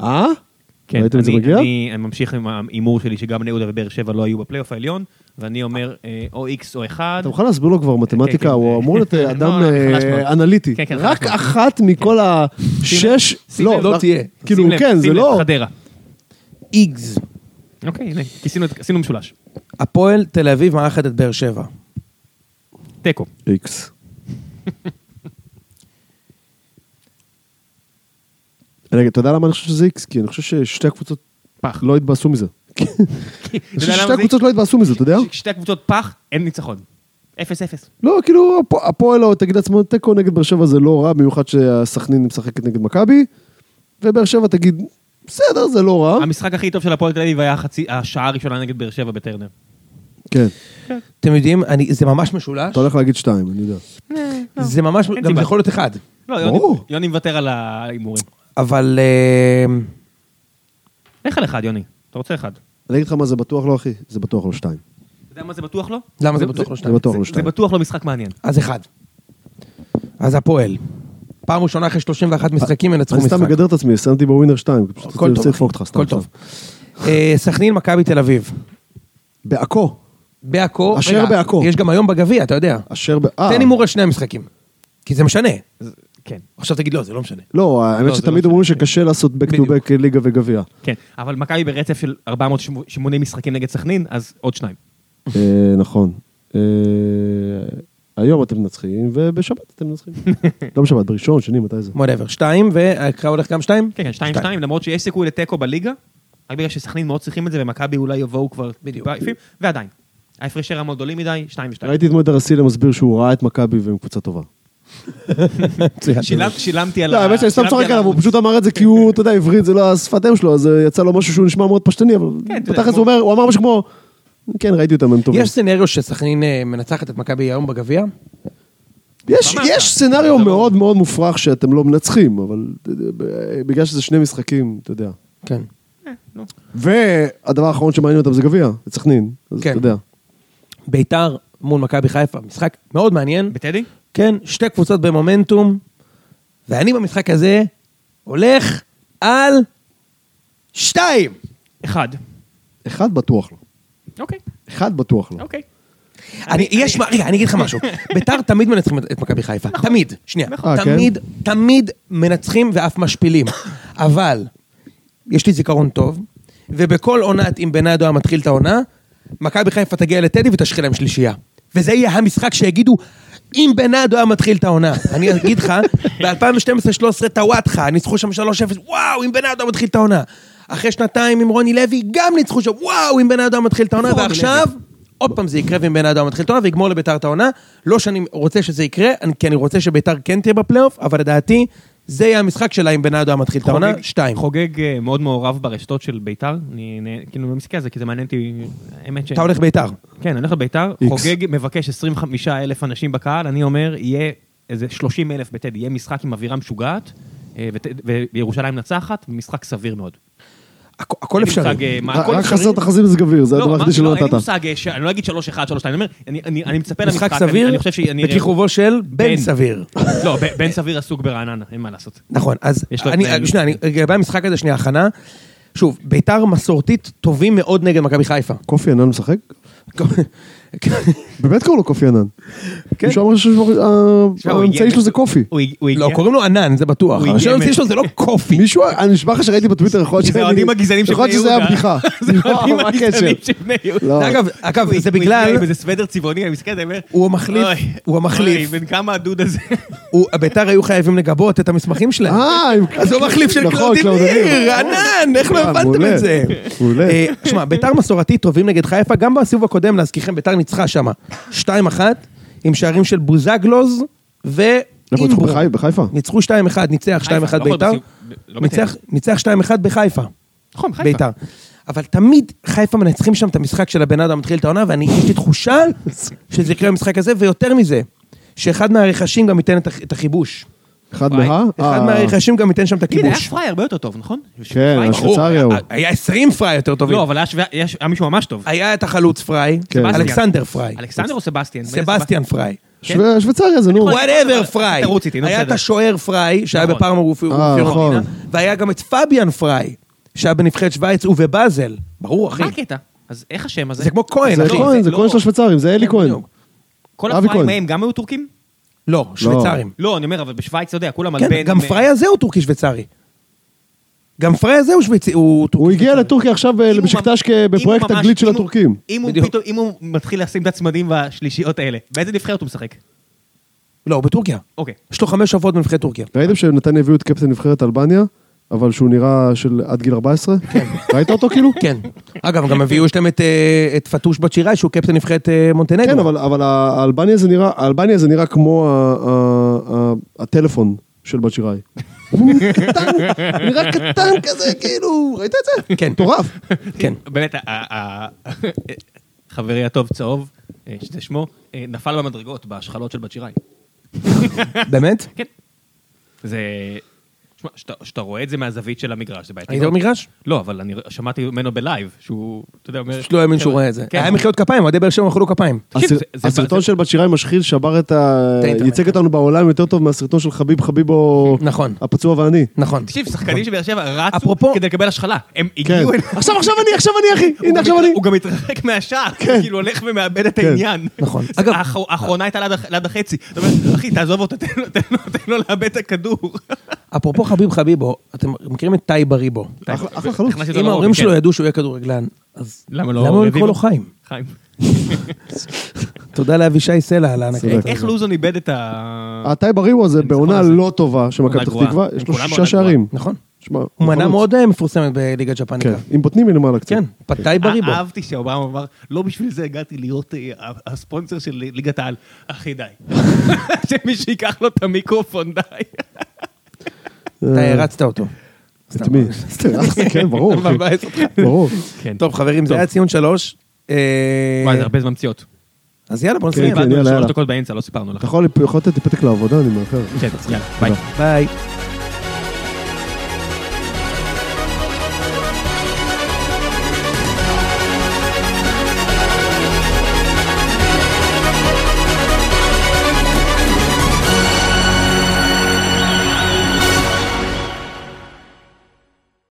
אה?
כן,
ראיתם את זה
אני-
מגיע?
אני אני ממשיך עם ההימור שלי שגם בני יהודה ובאר שבע לא היו בפלייאוף העליון, ואני אומר אה, או איקס או אחד.
אתה מוכן להסביר לו כבר
כן,
מתמטיקה?
כן.
הוא אמור להיות
לא,
אדם
לא, חלש
אה,
מאוד.
אנליטי.
כן, כן, חלש
רק
מאוד.
אחת מכל השש...
שים לב, לא
רק-
תהיה.
כאילו,
שים לב,
כן, זה
שים לב,
לא...
חדרה.
איגז.
אוקיי, הנה, כיסינו את- עשינו משולש.
הפועל תל אביב מארחת את באר שבע.
תיקו.
איקס. רגע, אתה יודע למה אני חושב שזה איקס? כי אני חושב ששתי הקבוצות
פח.
לא התבאסו מזה.
אתה יודע
ששתי
למה זה-
הקבוצות לא התבאסו מזה, אתה יודע?
שתי הקבוצות פח, אין ניצחון. אפס אפס.
לא, כאילו, הפ- הפועל או תגיד לעצמו, תיקו נגד באר שבע זה לא רע, במיוחד שהסכנין משחקת נגד מכבי, ובאר שבע תגיד, בסדר, זה לא רע.
המשחק הכי טוב של הפועל תל אביב היה החצי- השעה הראשונה נגד באר שבע בטרנר.
כן,
אתם יודעים, אני, זה ממש משולש.
אתה הולך להגיד שתיים, אני יודע.
זה ממש, גם
סיבה.
זה יכול להיות אחד.
לא, יוני-
ברור.
יוני מוותר על ההימורים.
אבל... אה,
לך על אחד, יוני. אתה רוצה אחד. אתה
אני אגיד לך מה זה בטוח לא, אחי? זה בטוח לא שתיים.
יודע מה זה בטוח לא?
למה זה בטוח לא
זה
שתיים?
בטוח
זה-
לא
זה
שתיים.
בטוח לא משחק מעניין.
אז אחד. אז הפועל. פעם ראשונה אחרי 31 משחקים מנצחו
אה, אני
משחק.
סתם מגדר את עצמי, שמתי בווינר 2, פשוט
הכל
אני רוצה
טוב,
לדפוק אותך סתם
הכל
עכשיו.
טוב. אה, סכנין, מכבי תל אביב.
בעכו.
בעכו.
אשר
רגע,
בעכו.
יש גם היום בגביע, אתה יודע.
אשר ב... אה.
תן הימור על שני המשחקים. כי זה משנה.
כן.
עכשיו תגיד, לא, זה לא משנה.
לא, האמת
לא, זה
שתמיד
לא
אומרים שקשה לעשות back to
בדיוק.
back ליגה וגביע.
כן, אבל מכבי ברצף של 480 משחקים נגד סכנין, אז עוד שניים. כן,
אה, נכון. אה, היום אתם מנצחים, ובשבת אתם מנצחים. לא בשבת, בראשון, שני, מתי זה?
וואטאבר. שתיים, והקרב הולך גם שתיים?
כן, כן, 2-2, למרות שיש סיכוי לתיקו בליגה, רק בגלל שסכנין מאוד צריכים את זה, ומכבי אולי יבואו כבר טיפה עייפים, ועדיין. ההפרשי רמה גדולים מדי, 2-2.
ראיתי אתמול את הרסילה מסביר שהוא ראה את מכבי והם קבוצה טובה.
מצוין.
שילמת- שילמתי על
לא, האמת שאני סתם
שילמתי
צוחק עליו, הוא
הערוץ.
פשוט אמר את זה כי הוא, אתה יודע, עברית זה לא השפת אם שלו, אז אה, יצא לו משהו שהוא נשמע מאוד פשטני, אבל
כן, אתה יודע,
בתכלס
כמו-
הוא אומר, הוא אמר משהו כמו, כן, ראיתי אותם, הם טובים.
יש סצנריו שסכנין אה, מנצחת את מכבי היום בגביע?
יש,
אמרת.
יש סצנריו
זה לא-
מאוד מאוד מופרך שאתם לא מנצחים, אבל אתה יודע, ב- אה, בגלל שזה שני משחקים, אתה יודע.
כן.
אה, נו.
והדבר האחרון שמעניין אותם זה גביע, זה סכנין, אז
כן.
אתה יודע.
ביתר מול מכבי חיפה, משחק מאוד מעניין.
בטדי?
כן, שתי קבוצות במומנטום, ואני במשחק הזה הולך על שתיים.
אחד.
אחד בטוח לא.
אוקיי,
אחד בטוח לא.
אוקיי.
אני, יש מה, רגע, אני אגיד לך משהו. ביתר תמיד מנצחים את- את מכבי חיפה. תמיד. שנייה.
נכון. אה, כן?
תמיד, תמיד מנצחים ואף משפילים. אבל, יש לי זיכרון טוב, ובכל עונת, אם בנאדו היה מתחיל את העונה, מכבי חיפה תגיע לטדי ותשחיל להם שלישייה. וזה יהיה המשחק שיגידו, אם בנאדו היה מתחיל את העונה. אני אגיד לך, ב-2012-2013 טוואטחה, ניצחו שם 3-0, וואו, אם בנאדו היה מתחיל את העונה. אחרי שנתיים עם רוני לוי, גם ניצחו שם, וואו, אם בנאדו היה מתחיל את העונה,
איפה רוני
ועכשיו... עכשיו, עוד פעם זה יקרה ועם בן אדם מתחיל את העונה ויגמור לביתר את העונה. לא שאני רוצה שזה יקרה, אני- כי אני רוצה שביתר כן תהיה בפלייאוף, אבל לדעתי, זה יהיה המשחק שלה אם בן אדם מתחיל את העונה.
חוגג-
שתיים.
חוגג אה, מאוד מעורב ברשתות של ביתר, אני נה- כאילו מסתכל על זה כי זה מעניין אותי, האמת ש...
אתה הולך ביתר.
כן, אני הולך לביתר,
X.
חוגג, מבקש 25 אלף אנשים בקהל, אני אומר, יהיה איזה 30 אלף בטדי, יהיה משחק עם אווירה משוגעת, אה, וט- וירושלים נצחת, משחק סביר מאוד.
הכ- הכל
אין לי
אפשרי.
מושג, אה, מה,
לא רק
הכל
רק
אפשרי.
חסר תחזית מזג אוויר, זה
לא,
הדבר היחידי
אמרתי,
שלא
לא, אין לי
נתת.
מושג, אה, ש- אני לא אגיד 3-1, 3-2, אני אומר, אני- אני אני מצפה למשחק,
משחק
אני-
סביר,
אני חושב שאני... אה, אראה-
בכיכובו של בן סביר.
לא, ב- בן סביר עסוק ברעננה, אין מה לעשות.
נכון, אז
יש לו תנאים.
אני, שנייה, אני- לגבי המשחק הזה, שנייה, הכנה. שוב, ביתר מסורתית טובים מאוד נגד מכבי חיפה.
קופי ענן משחק? באמת קוראים לו קופי ענן.
כן.
מישהו אמר
תשמע, הוא הגיע-
שהאמצעי שלו זה קופי.
הוא הג- הוא הגיע...
לא, קוראים לו ענן, זה בטוח.
הוא
השם
הגיע
המציא
מ-
שלו זה לא קופי.
מישהו, אני נשבע לך שראיתי בטוויטר, יכול להיות
זה
שאני-
האוהדים הגזענים של
יכול
בני
להיות שזה
יהודה.
היה בדיחה.
זה האוהדים
מה
הגזענים
הקשר?
של בני יהודה.
לא.
אגב, אגב, זה
הוא
בגלל...
הגיע עם איזה סוודר צבעוני, אני מסתכל, אני אומר...
הוא המחליף,
אוי,
הוא המחליף.
אוי, בן כמה הדוד הזה.
הוא- ביתר היו חייבים לגבות את המסמכים שלהם.
אה, עם-
אז הוא מחליף של
נכון,
קלאודימיר, ענן, איך לא
אה,
הבנתם
מעולה.
את זה?
מעולה.
אה, שמע, ביתר מסורתית טובים נגד חיפה, גם בסיבוב הקודם, להזכירכם, ביתר ניצחה שמה 2-1, עם שערים של בוזגלוז
איפה נכון, ניצחו?
ואימברו.
בחיפה- בחיפה?
ניצחו 2-1, ניצח 2-1
לא יכול
ביתר,
בסיבוב- לא
ניצח- ניצח 2-1 בחיפה,
נכון, חיפה.
ביתר. אבל תמיד חיפה מנצחים שם את המשחק של הבן אדם מתחיל את העונה, ואני, יש לי תחושה שזה יקרה במשחק הזה, ויותר מזה, שאחד מהרכשים גם ייתן את הח- את החיבוש.
אחד
וואי,
מה?
אחד
אה,
מהרכשים גם ייתן שם את
תגיד, היה
הכיבוש.
פריי הרבה יותר טוב, נכון?
כן,
פריי-
השוויץ- שוויצריה הוא.
היה 20 פריי יותר טובים.
לא, אבל היה שווה- היה ש- היה מישהו ממש טוב.
היה את החלוץ פריי,
כן. סבסטיאן.
אלכסנדר פריי,
אלכסנדר או סבסטיאן?
סבסטיאן פריי,
שווה- שוויצריה זה נו.
כן. יכול-
וואטאבר פריי.
תרוץ איתי, נו,
היה את
בסדר.
השוער פריי, שהיה
נכון.
בפארמה
אה, נכון.
רופיורנה, והיה גם את פביאן פריי, שהיה בנבחרת שווייץ ובבאזל. ברור, אחי. לא,
מה הקטע? אז איך השם הזה?
זה כמו כהן,
זה
אחי.
לא,
כהן,
זה
זה
לא.
כהן של השוויצרים, זה אלי
כן,
כהן.
בדיוק.
כל
אבי
הפריים
כהן.
ההם גם היו טורקים?
לא, שוויצרים.
לא, אני אומר, אבל בשוויץ, אתה יודע, כולם על
כן,
בן...
גם פריי הזה הוא טורקי שוויצרי. גם פריי הזה הוא שוויצי, הוא
הוא
טורקי
הגיע
שוויצרי.
לטורקיה עכשיו
אם הוא
לבשקטש
ממש- אם
בפרויקט
הוא ממש-
תגלית של
אם הוא-
הטורקים.
אם הוא
בדיוק.
פתאום- אם הוא מתחיל לשים את הצמדים והשלישיות האלה, באיזה נבחרת הוא משחק?
לא, הוא בטורקיה.
אוקיי.
יש לו חמש שבועות בנבחרת טורקיה.
ראיתם שנתניה הביאו את קפטן נבחרת אלבניה, אבל שהוא נראה של עד גיל 14? ראית אותו כאילו?
כן. אגב, גם הביאו יש להם את, אה, את פטוש בת שיראי, שהוא קפטן נבחרת אה, מונטנגו.
כן, אבל- אבל האלבניה זה נראה, האלבניה זה נראה כמו ה- ה- ה- הטלפון של בת שיראי. הוא קטן, נראה קטן כזה, כאילו, ראית את זה?
כן.
מטורף.
כן.
באמת, ה- ה- ה- חברי הטוב צהוב, אה, שזה שמו, אה, נפל במדרגות, בהשחלות של בת שיראי.
באמת?
כן. זה... תשמע, שאתה- שאתה רואה את זה מהזווית של המגרש, זה בעייתי.
היית
מאוד.
במגרש?
לא, אבל אני ר- שמעתי ממנו בלייב, שהוא, אתה יודע, אומר...
פשוט לא האמין שהוא רואה את זה.
כן.
היה מחיאות כפיים, אוהדי באר שבע מחאו לו כפיים.
תקשיב,
הסר-
זה- זה-
הסרטון
זה-
של בת שיראי משחיל שבר את ה...
את האינטרנט.
ייצג אותנו בעולם יותר טוב מהסרטון של חביב חביבו...
נכון.
הפצוע ואני.
נכון.
תקשיב, שחקנים של באר שבע רצו
אפרופו-
כדי לקבל השחלה. הם
כן.
הגיעו אליו.
עכשיו, עכשיו אני, עכשיו אני, אחי!
הוא
הנה,
גם
עכשיו
מת-
אני!
הוא גם מתרחק מהשער, כאילו הולך ומאבד את העניין.
כן. נכון.
זה-
אגב-
האח- האחרונה הייתה ליד הח- ליד החצי. אתה אומר, אחי, תעזוב אותו, תן לו- תן לו- תן לו לאבד את הכדור.
אפרופו חביב חביבו, אתם מכירים את טייב בריבו.
אחלה- אחלה חלוץ.
הכנסתי אותו
אם
לרובי,
ההורים
כן.
שלו ידעו שהוא יהיה כדורגלן, אז
למה לא
למה לא לקרוא
רביבו?
לו חיים?
חיים.
תודה לאבישי סלע על ההנקה.
צודק.
איך לוזון איבד את ה...
הטייב אריבו זה בעונה
הזה.
לא טובה של מכבי פתח
גרועה.
תקווה,
הם
יש לו
כולם
שישה
עונה
שערים.
נכון.
שמע,
הוא מנה
חלוץ.
מאוד אה, מפורסמת בליגת
כן,
ג'פניקה.
עם בוטנים מלמעלה קצת.
כן, פתאי בריבו.
אה, אהבתי שאובמה אמר, לא בשביל זה הגעתי להיות אה, ה- הספונסר של ליגת העל. אחי, די. שמישהו ייקח לו את המיקרופון, די.
אתה הרצת אותו.
אה, את מי? כן, ברור, אחי.
מבאס אותך.
ברור.
כן.
טוב חברים, זה
טוב.
היה ציון שלוש. אה,
וואי, זה הרבה זמן פציעות.
אז יאללה בוא
כן,
נסיים.
כן.
איבדנו
יאללה, נכון.
שלוש
יאללה.
דקות באמצע, לא סיפרנו לך.
אתה יכול יכול לתת לי פתק לעבודה, אני מאחר.
כן, יאללה, ביי.
אה? ביי.